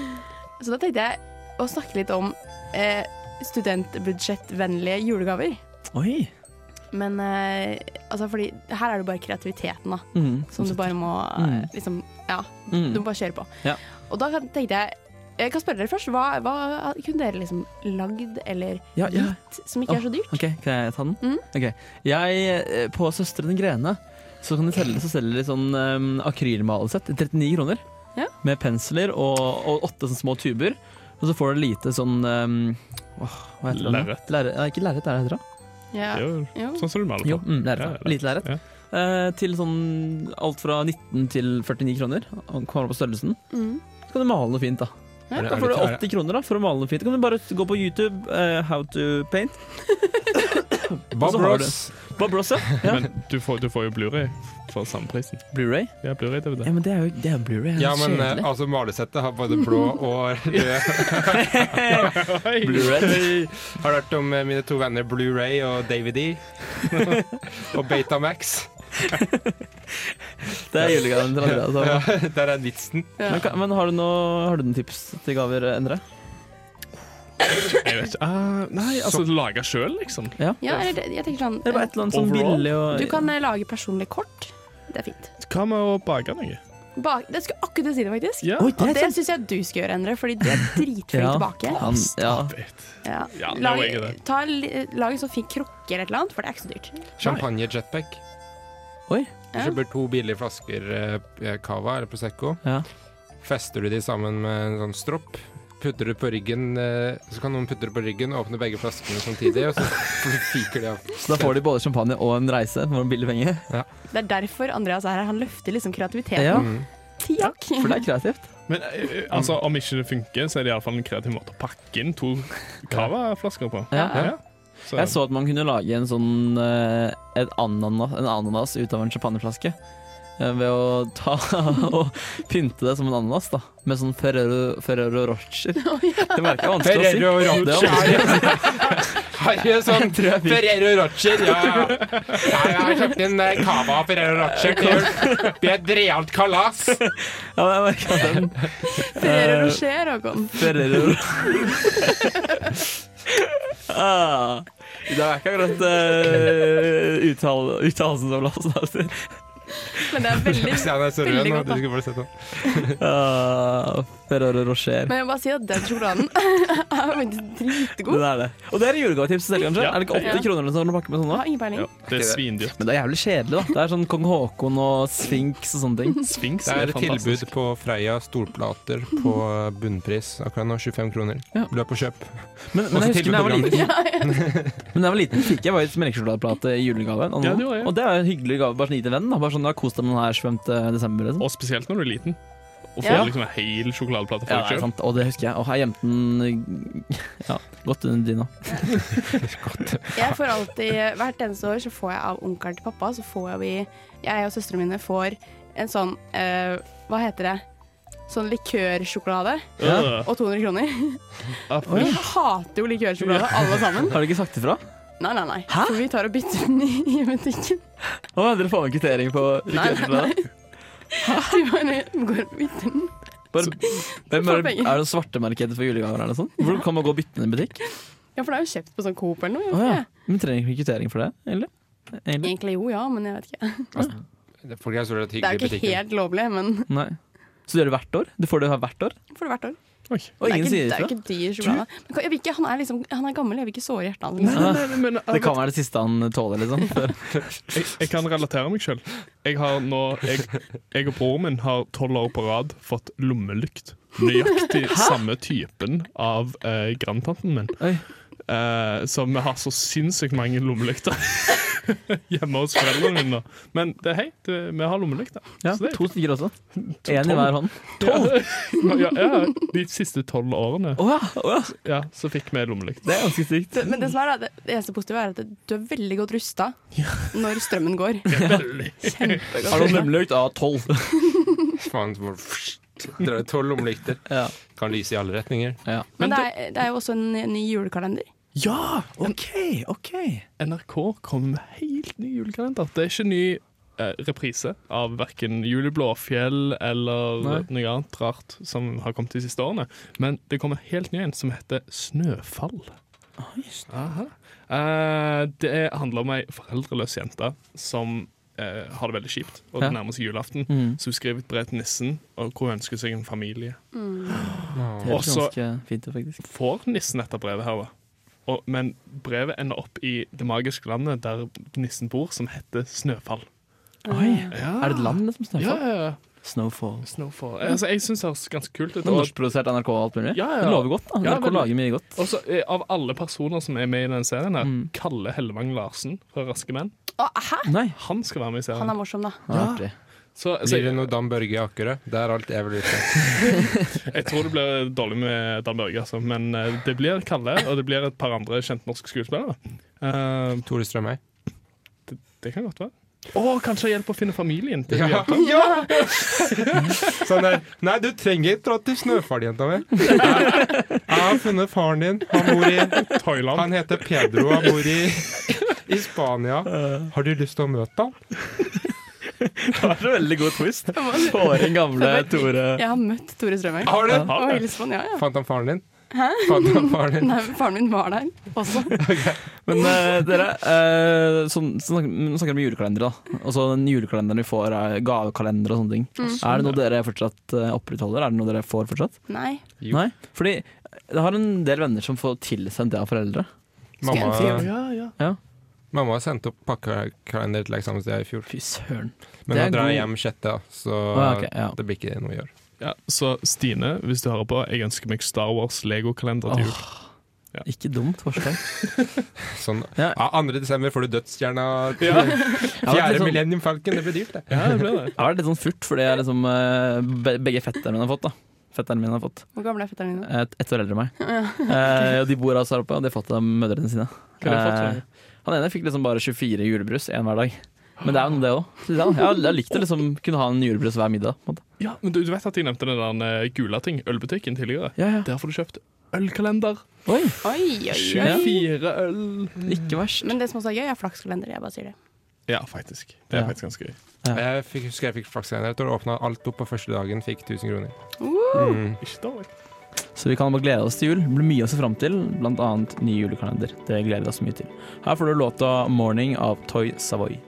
Speaker 6: jeg. Så da tenkte jeg å snakke litt om eh, studentbudsjettvennlige julegaver.
Speaker 2: Oi.
Speaker 6: Men eh, altså fordi her er det bare kreativiteten, da.
Speaker 2: Mm.
Speaker 6: Som du bare må eh,
Speaker 2: Mm.
Speaker 6: liksom Ja,
Speaker 2: Mm.
Speaker 6: du må bare kjøre på.
Speaker 2: Ja.
Speaker 6: Og da kan- tenkte jeg jeg kan spørre dere først, hva, hva kunne dere liksom lagd eller
Speaker 2: Ja, ja.
Speaker 6: gitt som ikke er så dyrt?
Speaker 2: Ok, kan jeg ta den?
Speaker 6: Mm.
Speaker 2: Ok. Jeg, eh, på Søstrene Grene, så kan de selge, så selger de sånn um, akrylmalesett i 39 kroner.
Speaker 6: Ja.
Speaker 2: Med pensler og, og åtte sånne små tuber. Og så får du lite sånn um, åh, Hva heter det?
Speaker 5: Lerret.
Speaker 2: Lerret. Ja, ikke lerret, er det det heter? da?
Speaker 6: Ja.
Speaker 5: Det er jo
Speaker 6: Jo.
Speaker 5: sånn som du maler
Speaker 2: Jo,
Speaker 5: på.
Speaker 2: mm, lerret.
Speaker 5: Ja,
Speaker 2: ja. Lite lerret.
Speaker 5: Ja.
Speaker 2: Eh, til sånn alt fra 19 til 49 kroner. og Kommer an på størrelsen.
Speaker 6: Mm.
Speaker 2: Så kan du male noe fint, da.
Speaker 6: Ja.
Speaker 2: Da får du 80 kroner da, for å male noe fint. Da kan du bare gå på YouTube, eh, How to paint.
Speaker 4: Bob
Speaker 2: Og så har
Speaker 4: Ross.
Speaker 2: Bob Ross, ja. ja.
Speaker 5: Men du får, du får jo Blu-ray for samme prisen.
Speaker 2: Blu-ray.
Speaker 5: Ja, Blu-ray-DVD.
Speaker 2: Ja, men det er jo det er Blu-ray. det er
Speaker 4: Ja,
Speaker 2: så
Speaker 4: men eh,
Speaker 2: kjedelig.
Speaker 4: altså malesettet har både blå og rød.
Speaker 2: Blu-ray.
Speaker 4: Har du hørt om eh, mine to venner Blu-ray og DVD? og Betamax?
Speaker 2: Det er julegaven til Andrea.
Speaker 4: Ja,
Speaker 2: Altså.
Speaker 4: der er vitsen.
Speaker 2: Men, kan- men har du noe har du noen tips til gaver, Endre?
Speaker 5: Jeg vet ikke. Ah, nei, altså lage sjøl, liksom.
Speaker 6: Ja, eller det, jeg tenker sånn
Speaker 2: Eller bare et eller annet sånn
Speaker 5: Overall?
Speaker 2: billig og
Speaker 6: Du kan eh, lage personlig kort. Det er fint.
Speaker 5: Hva med å bake noe?
Speaker 6: Bak, det skulle jeg akkurat til å si det, faktisk.
Speaker 5: Ja.
Speaker 2: Oi, det
Speaker 6: Og
Speaker 2: er
Speaker 6: det
Speaker 2: sant!
Speaker 6: syns jeg du skal gjøre, Endre, fordi du er dritflink
Speaker 2: Ja.
Speaker 6: tilbake.
Speaker 2: Han,
Speaker 5: Ah,
Speaker 2: ja.
Speaker 6: Ja.
Speaker 5: Ja, det
Speaker 6: Lag,
Speaker 5: var ikke det.
Speaker 6: ta, li- lag en sånn fin krukke eller et eller annet, for det er ikke så dyrt.
Speaker 4: Champagne jetpack.
Speaker 2: Oi.
Speaker 4: Du
Speaker 6: Ja.
Speaker 4: kjøper to billige flasker eh, cava eller Prosecco.
Speaker 2: Ja.
Speaker 4: Fester du de sammen med en sånn stropp. Putter du på ryggen eh, Så kan noen putte det på ryggen og åpne begge flaskene samtidig, og så fyker de av.
Speaker 2: Så da får de både champagne og en reise for en billig penge.
Speaker 6: Det er derfor Andreas er her. Han løfter liksom kreativiteten.
Speaker 2: Ja,
Speaker 4: Mm.
Speaker 6: Takk.
Speaker 2: For det er kreativt.
Speaker 5: Men eh, altså, om ikke det funker, så er det iallfall en kreativ måte å pakke inn to cava-flasker på.
Speaker 2: Ja.
Speaker 5: Ja. Så,
Speaker 2: Jeg så at man kunne lage en sånn eh, et ananas, en ananas ut av en champagneflaske. eh, Ved å ta og pynte det som en ananas, da. Med sånn Ferrero, Ferrero Rocher. Det merker jeg er vanskelig å si.
Speaker 4: Ferrero
Speaker 2: Det er vanskelig.
Speaker 4: Harry sånn
Speaker 2: Tror jeg fikk.
Speaker 4: Ferrero Rocher, ja ja. ja. Jeg har kjøpt inn eh, cava av Ferrero Rocher til jul. Det blir et realt kalas.
Speaker 2: Ja, jeg merka den.
Speaker 6: Ferrero
Speaker 2: Eh,
Speaker 6: Rocher, Håkon.
Speaker 2: Ferrero ah, Det er ikke akkurat uh, uttale, uttalelsen som lå oss der.
Speaker 6: Men det er veldig,
Speaker 4: Stian er så rød
Speaker 6: veldig
Speaker 4: nå.
Speaker 6: godt.
Speaker 4: Du
Speaker 6: da.
Speaker 4: skulle bare sett den.
Speaker 2: Ah, Ferrero Rocher.
Speaker 6: Men jeg må bare sier at den sjokoladen er faktisk dritgod.
Speaker 2: Den er det. Og det er julegavetips til selv, kanskje?
Speaker 5: Ja.
Speaker 2: er det ikke 80
Speaker 6: Ja.
Speaker 2: kroner eller noe pakke med sånn nå?
Speaker 6: Jeg har ingen peiling.
Speaker 5: Det er svindyrt.
Speaker 2: Men det er jævlig kjedelig, da. Det er sånn kong Haakon og sfinks og sånne ting.
Speaker 5: Sphinx
Speaker 4: Det
Speaker 5: er,
Speaker 4: er et
Speaker 5: fantastisk.
Speaker 4: tilbud på Freia stolplater på bunnpris akkurat nå. 25 kroner.
Speaker 2: Ja.
Speaker 4: Løp og kjøp.
Speaker 2: Men, men
Speaker 4: Også
Speaker 2: jeg husker da jeg var
Speaker 4: tilbud på
Speaker 2: liten, Men da jeg var liten fikk jeg faktisk melkesjokoladeplate i julegave. Og,
Speaker 5: Ja, det var jeg.
Speaker 2: og det er en hyggelig gave bare sånn gi til en venn. Da. Bare sånn, da kos deg med den her 25. desember. Liksom.
Speaker 5: Og spesielt når du er liten. Å få
Speaker 2: Ja.
Speaker 5: liksom en hel
Speaker 2: Ja,
Speaker 5: sjokoladeplate
Speaker 2: det
Speaker 5: for
Speaker 2: er
Speaker 5: deg sjøl.
Speaker 2: sant. Og det husker jeg. Og jeg gjemte den ja, godt under dyna.
Speaker 6: Jeg får alltid, Hvert eneste år så får jeg av onkelen til pappa, så får vi Jeg og søstrene mine får en sånn eh, Hva heter det? Sånn likørsjokolade
Speaker 5: Øh.
Speaker 2: Ja.
Speaker 6: og 200 kroner.
Speaker 2: Oi.
Speaker 6: Vi hater jo likørsjokolade, alle sammen.
Speaker 2: Har du ikke sagt ifra?
Speaker 6: Nei, nei, nei. For vi tar og bytter den i, i butikken.
Speaker 2: Å, dere får en kvittering på
Speaker 6: Nei, nei,
Speaker 2: likørsjokolade?
Speaker 6: nei. Vi bare går og bytter den.
Speaker 2: Bare- Hvem
Speaker 6: får
Speaker 2: Er, det-
Speaker 6: penger.
Speaker 2: er det svartemarkedet for julegaver? Er det sånn? Hvor kan man gå og bytte den i butikk?
Speaker 6: Ja, for det er jo kjøpt på sånn Coop eller noe.
Speaker 2: Å
Speaker 6: gjør det
Speaker 2: ja.
Speaker 6: ikke det?
Speaker 2: Men trenger ikke kvittering for det? Eller? Egentlig?
Speaker 6: Egentlig jo, ja, men jeg vet ikke.
Speaker 4: Det- Folk er stort
Speaker 6: Det er jo
Speaker 4: sett hyggelige i
Speaker 6: ikke
Speaker 4: butikken.
Speaker 6: helt lovlig, men
Speaker 2: Nei. Så du gjør det hvert år? Du får det hvert år?
Speaker 6: for hvert år.
Speaker 2: Og
Speaker 6: det er
Speaker 2: ingen
Speaker 6: ikke,
Speaker 2: sier
Speaker 6: det er
Speaker 2: ifra?
Speaker 6: jo ikke dyr sjokolade. Men kan- jeg vil ikke, han, er liksom, han er gammel, jeg vil ikke såre hjertet hans.
Speaker 5: Nei,
Speaker 6: Liksom.
Speaker 5: nei, nei, men
Speaker 2: Det
Speaker 5: jeg,
Speaker 2: kan være det siste han tåler, liksom. før-
Speaker 5: jeg, jeg kan relatere meg sjøl. Jeg, har nå- jeg, jeg og broren min har tolv år på rad fått lommelykt. Nøyaktig samme typen av eh, grandtanten min.
Speaker 2: Oi.
Speaker 5: Eh, så vi har så sinnssykt mange lommelykter hjemme hos foreldrene mine. nå. Men det, hei, det, vi har lommelykter.
Speaker 2: Ja,
Speaker 5: Så det er-
Speaker 2: to stykker også. Én i hver hånd.
Speaker 5: Ja, ja, de siste tolv årene
Speaker 2: Å ja, å ja.
Speaker 5: ja, så fikk vi lommelykt.
Speaker 2: Det er ganske sykt.
Speaker 6: Det- Men det, som er, da, det det eneste positive er at det- du er veldig godt rusta når strømmen går.
Speaker 2: Har du nemlig av tolv?
Speaker 4: Faen, så må du- Drar ut tolv lommelykter.
Speaker 2: Ja.
Speaker 4: Kan lyse i alle retninger.
Speaker 6: Men det er, det er jo også en ny julekalender.
Speaker 5: Ja!
Speaker 2: OK, OK.
Speaker 5: NRK kommer med helt ny julekalender. Det er ikke ny eh, reprise av verken Jul i Blåfjell eller
Speaker 2: Nei.
Speaker 5: noe annet rart som har kommet de siste årene, men det kommer en helt ny en som heter Snøfall. Aha. Eh, det handler om ei foreldreløs jente som eh, har det veldig kjipt, og det
Speaker 2: Ja.
Speaker 5: nærmer seg julaften.
Speaker 2: Mm.
Speaker 5: Så hun skriver et brev til nissen og hvor hun ønsker seg en familie.
Speaker 2: Det er
Speaker 5: Også-
Speaker 2: ganske fint, faktisk.
Speaker 5: får nissen dette brevet her, da. Og, men brevet ender opp i det magiske landet der nissen bor, som heter Snøfall.
Speaker 2: Oi.
Speaker 5: Ja.
Speaker 2: Er det et land, liksom?
Speaker 5: Ja,
Speaker 2: Snøfall?
Speaker 5: ja, ja.
Speaker 2: Snowfall.
Speaker 5: Snowfall. Eh, Altså, jeg syns det høres ganske kult ut.
Speaker 2: Men
Speaker 5: Og,
Speaker 2: norskprodusert NRK og alt mulig?
Speaker 5: Ja, ja.
Speaker 2: Det lover godt, da.
Speaker 5: Ja,
Speaker 2: NRK
Speaker 5: veldig.
Speaker 2: lager mye godt.
Speaker 5: og så, eh, av alle personer som er med i den serien, her,
Speaker 2: Mm.
Speaker 5: Kalle Hellevang Larsen fra Raske menn,
Speaker 6: Å, hæ?
Speaker 2: Nei,
Speaker 5: han skal være med i
Speaker 6: Han er
Speaker 5: serien.
Speaker 6: morsom, da.
Speaker 2: det er artig.
Speaker 5: Så, altså,
Speaker 2: Altså-
Speaker 5: så
Speaker 4: Livet
Speaker 5: jeg,
Speaker 4: noe Dan Børge Akerø. Det er alt jeg vil vite.
Speaker 5: jeg tror det blir dårlig med Dan Børge, altså. Men eh, det blir Kalle, og det blir et par andre kjent norske skuespillere. Eh,
Speaker 4: Tore Strømøy.
Speaker 5: det kan godt være. Å, kanskje hjelp å finne familien til
Speaker 4: Ja.
Speaker 5: ja.
Speaker 4: Sånn der Nei, du trenger ikke dra til Snøfall, jenta mi. Jeg har funnet faren din. Han bor i
Speaker 5: Thailand.
Speaker 4: Han heter Pedro og bor i, i Spania. Har du lyst til å møte ham?
Speaker 2: Det var en veldig god twist. Får inn gamle Tore
Speaker 6: Jeg har møtt Tore Strømøy.
Speaker 4: Har du?
Speaker 6: Og hilst på han, ja, ja.
Speaker 4: Fant han faren din? Fant han faren din?
Speaker 6: Nei, faren min var der også.
Speaker 2: Men eh, dere, eh, sånn, så snakker, nå snakker vi om julekalendere, da. Og så den julekalenderen vi får, er gavekalender og sånne ting.
Speaker 6: Mm.
Speaker 2: Er det noe dere fortsatt eh, opprettholder? Er det noe dere får fortsatt?
Speaker 6: Nei.
Speaker 4: Jo.
Speaker 2: Nei? Fordi jeg har en del venner som får tilsendt det av foreldre.
Speaker 4: Mamma,
Speaker 5: Ja, ja.
Speaker 4: mamma sendte opp pakkekalender til eksamensstedet i fjor.
Speaker 2: Fy søren.
Speaker 4: Men
Speaker 2: Det er
Speaker 4: nå drar
Speaker 2: god-
Speaker 4: jeg hjem sjette, da, så
Speaker 2: Å, ok, ja.
Speaker 4: det blir ikke noe å gjøre.
Speaker 5: Ja, så Stine, hvis du hører på, jeg ønsker meg Star Wars Lego-kalender til jul. Ja.
Speaker 2: Ikke dumt forslag.
Speaker 4: Sånn, ja,
Speaker 2: Ja.
Speaker 4: 2. desember får du dødsstjerna.
Speaker 2: Ja,
Speaker 5: Ja.
Speaker 2: det er
Speaker 4: Fjerde
Speaker 2: sånn-
Speaker 4: Millennium Falcon, det blir dyrt, det.
Speaker 5: Ja, det blir det.
Speaker 2: Jeg har vært litt sånn furt, fordi jeg liksom, eh, be- begge fetterne mine har fått. da Fetterne mine har fått
Speaker 6: Hvor gammel er fetteren din? nå?
Speaker 2: et, ett år eldre enn meg. Eh, og de bor altså her oppe, og de har fått av mødrene sine.
Speaker 5: Hva har de fått,
Speaker 2: Eh, han ene fikk liksom bare 24 julebrus én hver dag. Men det er jo noe, det òg. Jeg har- jeg har likt å liksom kunne ha en julebrus hver middag. på en måte.
Speaker 5: Ja, men du, du vet at jeg nevnte den der eh, gula ting, ølbutikken tidligere?
Speaker 2: Ja, ja.
Speaker 5: Der får du kjøpt ølkalender.
Speaker 2: Oi.
Speaker 6: Oi, oi, oi.
Speaker 5: 24 øl.
Speaker 2: Ikke verst.
Speaker 6: Men det som også er gøy, er flakskalender. Jeg bare sier det.
Speaker 5: Ja, faktisk. Det er faktisk ganske gøy.
Speaker 4: Jeg fikk, husker jeg fikk flaksegreier. Jeg tror jeg åpna alt opp på første dagen, fikk 1000 kroner. Mm.
Speaker 5: Ikke dårlig.
Speaker 2: Så vi kan bare glede oss til jul. Det blir mye å se fram til, bl.a. ny julekalender. Det gleder vi oss mye til. Her får du låta 'Morning' av Toy Savoy.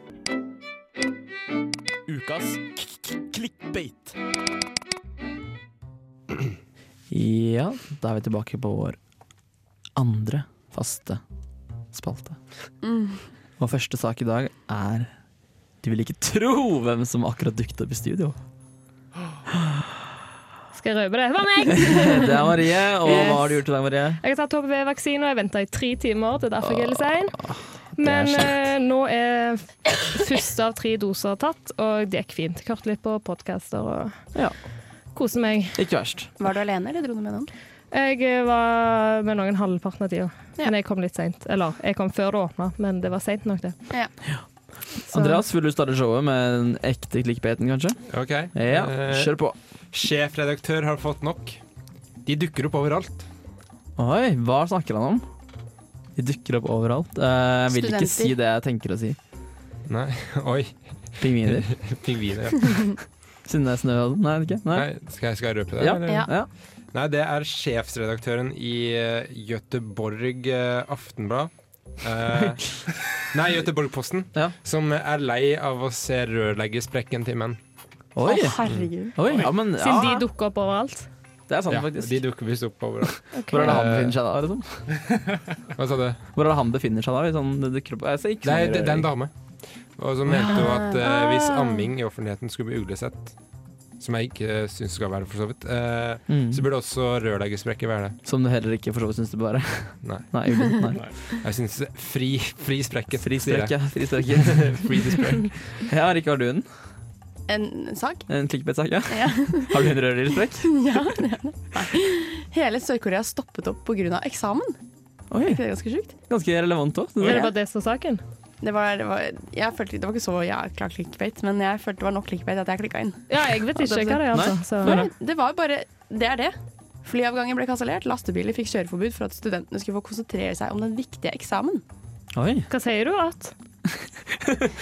Speaker 2: Ukas clickbait. Ja, da er vi tilbake på vår andre faste spalte. Mm. Og første sak i dag er Du vil ikke tro hvem som akkurat dukket opp i studio.
Speaker 12: Skal jeg røpe det? Det var meg!
Speaker 2: Det er Marie, og hva har du gjort i dag, Marie?
Speaker 12: Jeg har tatt HPV-vaksine, og jeg venta i tre timer. Det er derfor jeg er litt sein. Men
Speaker 2: kjipt.
Speaker 12: eh, nå er første av tre doser tatt, og det gikk fint. Jeg Hørte litt på podkaster og
Speaker 2: ja.
Speaker 12: koste meg.
Speaker 2: Ikke verst.
Speaker 6: Var du alene, eller dro du med noen?
Speaker 12: Jeg eh, var med noen halvparten av tida, men jeg kom litt seint. Eller, jeg kom før det åpna, men det var seint nok, det.
Speaker 2: Andreas, vil du starte showet med den ekte clickbaiten, kanskje?
Speaker 4: Ok.
Speaker 2: Ja,
Speaker 4: Eh,
Speaker 2: kjør på.
Speaker 4: Sjefredaktør har fått nok. De dukker opp overalt.
Speaker 2: Oi, hva snakker han om? De dukker opp overalt. Eh, jeg vil ikke
Speaker 4: Studenter.
Speaker 2: si det jeg tenker å si.
Speaker 4: Nei, oi.
Speaker 2: Pingviner.
Speaker 4: Pingviner, ja.
Speaker 2: Siden det er snø og sånn. Nei, ikke? Nei.
Speaker 4: Nei, skal, jeg, skal jeg røpe det?
Speaker 2: Ja.
Speaker 4: eller?
Speaker 2: Ja. Ja.
Speaker 4: Nei, det er sjefsredaktøren i eh, Göteborg eh, Aftenblad. Eh, nei, Göteborg-posten. Som er lei av å se rørleggersprekken til menn.
Speaker 12: Oi. Å, herregud.
Speaker 2: Oi, ja, men,
Speaker 12: Siden de dukker opp overalt.
Speaker 2: Det er sant,
Speaker 4: ja,
Speaker 2: faktisk.
Speaker 4: De Eh. dukker visst opp overalt.
Speaker 2: Hvor er det han befinner seg da? Liksom?
Speaker 4: Hva sa du?
Speaker 2: Hvor er det han befinner seg da? Hvis han dukker opp? Jeg ser ikke så
Speaker 4: Nei,
Speaker 2: mye
Speaker 4: det, det er en
Speaker 2: røring.
Speaker 4: dame. Og som mente jo at eh, hvis
Speaker 2: Ah.
Speaker 4: amming i offentligheten skulle bli uglesett, som jeg ikke uh, syns skal være for så vidt, eh,
Speaker 2: Mm.
Speaker 4: så burde også rørleggersprekker være det.
Speaker 2: Som du heller ikke for så vidt syns det bør være.
Speaker 4: Nei.
Speaker 2: Nei, uglesett, nei.
Speaker 4: Jeg syns fri, fri sprekken.
Speaker 2: Fri
Speaker 4: sier
Speaker 2: sprekk,
Speaker 4: jeg.
Speaker 2: ja. Fri sprekk.
Speaker 4: Free the sprekk.
Speaker 2: Ja, Rikke, har du en?
Speaker 6: En sak?
Speaker 2: En clickbait-sak, ja?
Speaker 6: Ja.
Speaker 2: Har du en rørleggersprekk?
Speaker 6: ja, det er det. Hele Sør-Korea stoppet opp pga. eksamen.
Speaker 2: Oi.
Speaker 6: Er ikke det ganske sjukt?
Speaker 2: Ganske relevant òg.
Speaker 12: Var det bare det som var saken?
Speaker 6: Det var, det, var, jeg følte, det var ikke så jækla clickbait, men jeg følte det var nok clickbait at jeg klikka inn.
Speaker 12: Ja, jeg vet ikke hva det er, altså. Så.
Speaker 6: Nei, det var bare Det er det. Flyavganger ble kansellert, lastebiler fikk kjøreforbud for at studentene skulle få konsentrere seg om den viktige eksamen.
Speaker 2: Oi.
Speaker 12: Hva sier du? At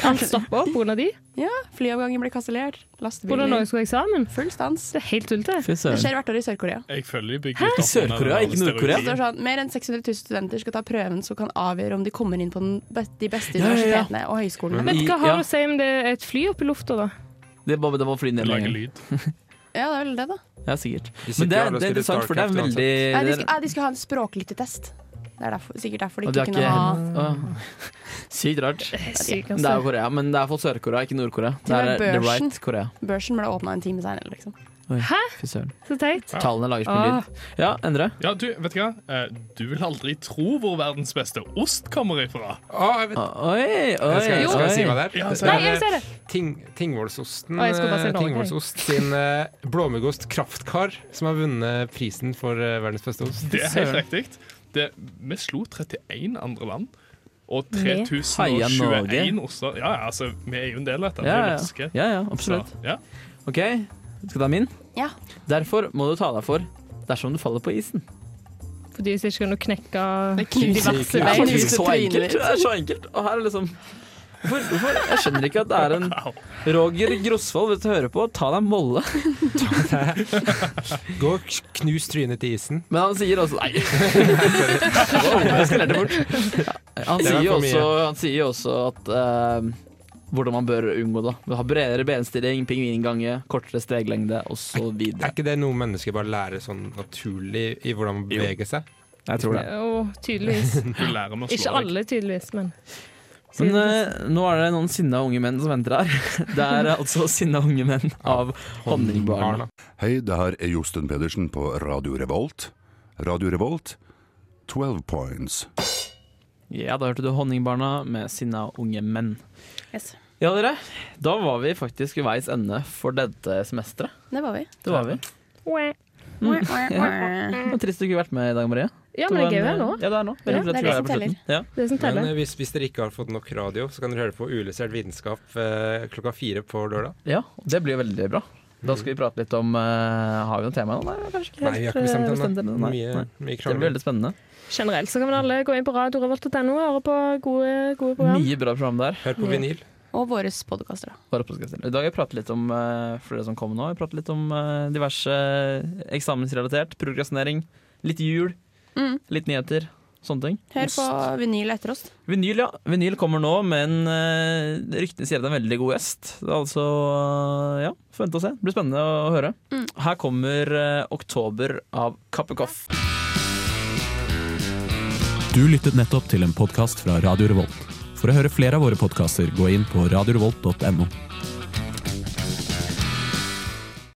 Speaker 12: alt stopper opp pga. de?
Speaker 6: Ja, flyavganger ble kansellert, lastebiler
Speaker 12: Hvordan noen skulle ha eksamen?
Speaker 6: Full stans.
Speaker 12: Det er helt tullete.
Speaker 2: Fy søren.
Speaker 6: Det skjer hvert år i Sør-Korea.
Speaker 5: Jeg føler de bygger
Speaker 12: Hæ?
Speaker 5: litt opp under
Speaker 2: Sør-Korea,
Speaker 5: den
Speaker 2: ikke Nord-Korea?
Speaker 6: Det står
Speaker 5: stereotypen.
Speaker 6: sånn, Mer enn 600 000 studenter skal ta prøven som kan avgjøre om de kommer inn på den best, de beste
Speaker 2: Ja, ja, ja.
Speaker 6: universitetene og høyskolene.
Speaker 2: Men
Speaker 12: Men
Speaker 2: i-
Speaker 12: hva har
Speaker 2: ja.
Speaker 12: det å si om det er et fly oppe i lufta, da?
Speaker 2: Det er bare det må fly ned
Speaker 5: Lage
Speaker 2: lyd.
Speaker 6: Ja, det er vel det, da.
Speaker 2: Ja, sikkert.
Speaker 4: sitter
Speaker 2: Men det
Speaker 4: jo
Speaker 2: er, det
Speaker 4: alle og
Speaker 2: er
Speaker 4: spiller
Speaker 2: interessant, for det er
Speaker 4: Starcraft
Speaker 2: veldig
Speaker 6: Nei, de, skal, nei, de skal ha en språklyttetest. Det er derfor, sikkert derfor de
Speaker 2: Og det
Speaker 6: ikke
Speaker 2: er
Speaker 6: kunne ha
Speaker 2: ikke- Åh. Sykt rart.
Speaker 6: sykt,
Speaker 2: Det
Speaker 6: altså.
Speaker 2: er jo Korea, men det er for Sør-Korea, ikke Nord-Korea. Det
Speaker 6: Til og
Speaker 2: er
Speaker 6: med
Speaker 2: The
Speaker 6: børsen.
Speaker 2: Right Korea.
Speaker 6: Børsen ble åpna en time seinere, liksom.
Speaker 2: Oi,
Speaker 12: Hæ?
Speaker 2: Fy søren.
Speaker 12: Så teit.
Speaker 2: Tallene lages med lyd. Ja, Endre?
Speaker 5: Ja, du, vet du hva? Eh, Du vil aldri tro hvor verdens beste ost kommer ifra.
Speaker 2: Oi, oi,
Speaker 4: Jeg skal, skal jeg si hva det er?
Speaker 5: Ja,
Speaker 4: Det
Speaker 5: si det.
Speaker 4: er, eh,
Speaker 5: Nei, jeg
Speaker 12: altså. ser det.
Speaker 4: Ting, Tingvollsosten
Speaker 5: Å, jeg skulle bare si det
Speaker 4: eh,
Speaker 5: over, jeg.
Speaker 4: Tingvollsost sin eh, blåmuggost Kraftkar, som har vunnet prisen for eh, verdens beste ost.
Speaker 5: Det er helt riktig. Det, vi slo 31 andre land. Og
Speaker 2: Med? Heia
Speaker 5: 3021
Speaker 2: Norge.
Speaker 5: oster. Ja, ja, altså, vi er jo en del av dette.
Speaker 2: Ja,
Speaker 5: vi er
Speaker 2: ja.
Speaker 5: norske.
Speaker 2: Ja, ja, absolutt.
Speaker 5: Så, ja.
Speaker 2: OK, skal jeg ta min?
Speaker 6: Ja.
Speaker 2: Derfor må du ta deg for dersom du faller på isen.
Speaker 12: Fordi hvis ikke kan du knekke
Speaker 2: Det
Speaker 12: diverse
Speaker 2: er
Speaker 12: bein.
Speaker 2: faktisk så enkelt. Det er så enkelt. Og her er liksom Hvorfor? hvorfor? Jeg skjønner ikke at det er en Roger Grosvold, hvis du hører på, ta deg en bolle.
Speaker 4: Gå og knus trynet til isen.
Speaker 2: Men han sier også Nei. wow, jeg skalerte fort. Han
Speaker 4: Det var
Speaker 2: sier, jo
Speaker 4: for mye.
Speaker 2: også, han sier jo også at eh, hvordan man bør unngå det. Du har bredere benstilling, pingvingange, kortere steglengde osv.
Speaker 4: Er ikke det noe mennesker bare lærer sånn naturlig i hvordan man beveger seg?
Speaker 2: Jeg tror det.
Speaker 12: Jo, tydeligvis.
Speaker 5: Du lærer meg å
Speaker 12: Ikke
Speaker 5: slå deg.
Speaker 12: alle, tydeligvis, men
Speaker 2: Men eh, nå er det noen sinna unge menn som venter her. Det er altså sinna unge menn av Honningbarna.
Speaker 13: Hei, det her er Josten Pedersen på Radio Revolt. Radio Revolt, 12 points.
Speaker 2: Ja, da hørte du Honningbarna med sinna unge menn. Ja, dere. Da var vi faktisk ved veis ende for dette semesteret.
Speaker 6: Det var vi.
Speaker 2: Det var vi. Mm. Ja. Det var Trist du ikke har vært med i dag, Marie.
Speaker 12: Ja, men det er gøy
Speaker 2: var en-
Speaker 12: her nå.
Speaker 2: Ja, det er nå. Veldig
Speaker 12: Ja,
Speaker 2: hyggelig at
Speaker 12: det
Speaker 2: du
Speaker 12: er det
Speaker 2: her på
Speaker 12: som teller.
Speaker 2: slutten. Ja.
Speaker 12: det som
Speaker 4: Men eh,
Speaker 12: teller.
Speaker 4: hvis, hvis dere ikke har fått nok radio, så kan dere høre på Ulysert vitenskap eh, klokka fire på lørdag.
Speaker 2: Ja, og det blir veldig bra. Da
Speaker 12: Mm.
Speaker 2: skal vi prate litt om eh, Har vi noe tema nå? Nei, vi har kanskje ikke
Speaker 4: Nei,
Speaker 2: helt
Speaker 4: vi har ikke bestemt
Speaker 2: eh,
Speaker 4: ennå.
Speaker 2: det. Nei,
Speaker 4: Mye-
Speaker 2: nei.
Speaker 4: mye
Speaker 2: Det blir
Speaker 4: krangling.
Speaker 2: veldig spennende.
Speaker 12: Generelt så kan vel alle gå inn på radiorevolt.no og høre på gode, gode program.
Speaker 2: Mye bra program der. Hør
Speaker 12: på vinyl.
Speaker 6: Og våre podkaster, da.
Speaker 2: Bare på podcasten. I dag har vi pratet litt om eh, for dere som kommer nå, vi pratet litt om eh, diverse eksamensrelatert, progresjonering, litt jul,
Speaker 6: Mm.
Speaker 2: litt nyheter, sånne ting.
Speaker 6: Hør på vinyl etter oss.
Speaker 2: Vinyl, ja. Vinyl kommer nå, men uh, ryktene sier at det er en veldig god gjest. Det er Altså, eh, ja, får vente og se. Det blir spennende å høre. Her kommer eh, 'Oktober' av Kappekoff.
Speaker 14: Du lyttet nettopp til en podkast fra Radio Revolt. For å høre flere av våre podkaster, gå inn på radiorevolt.no.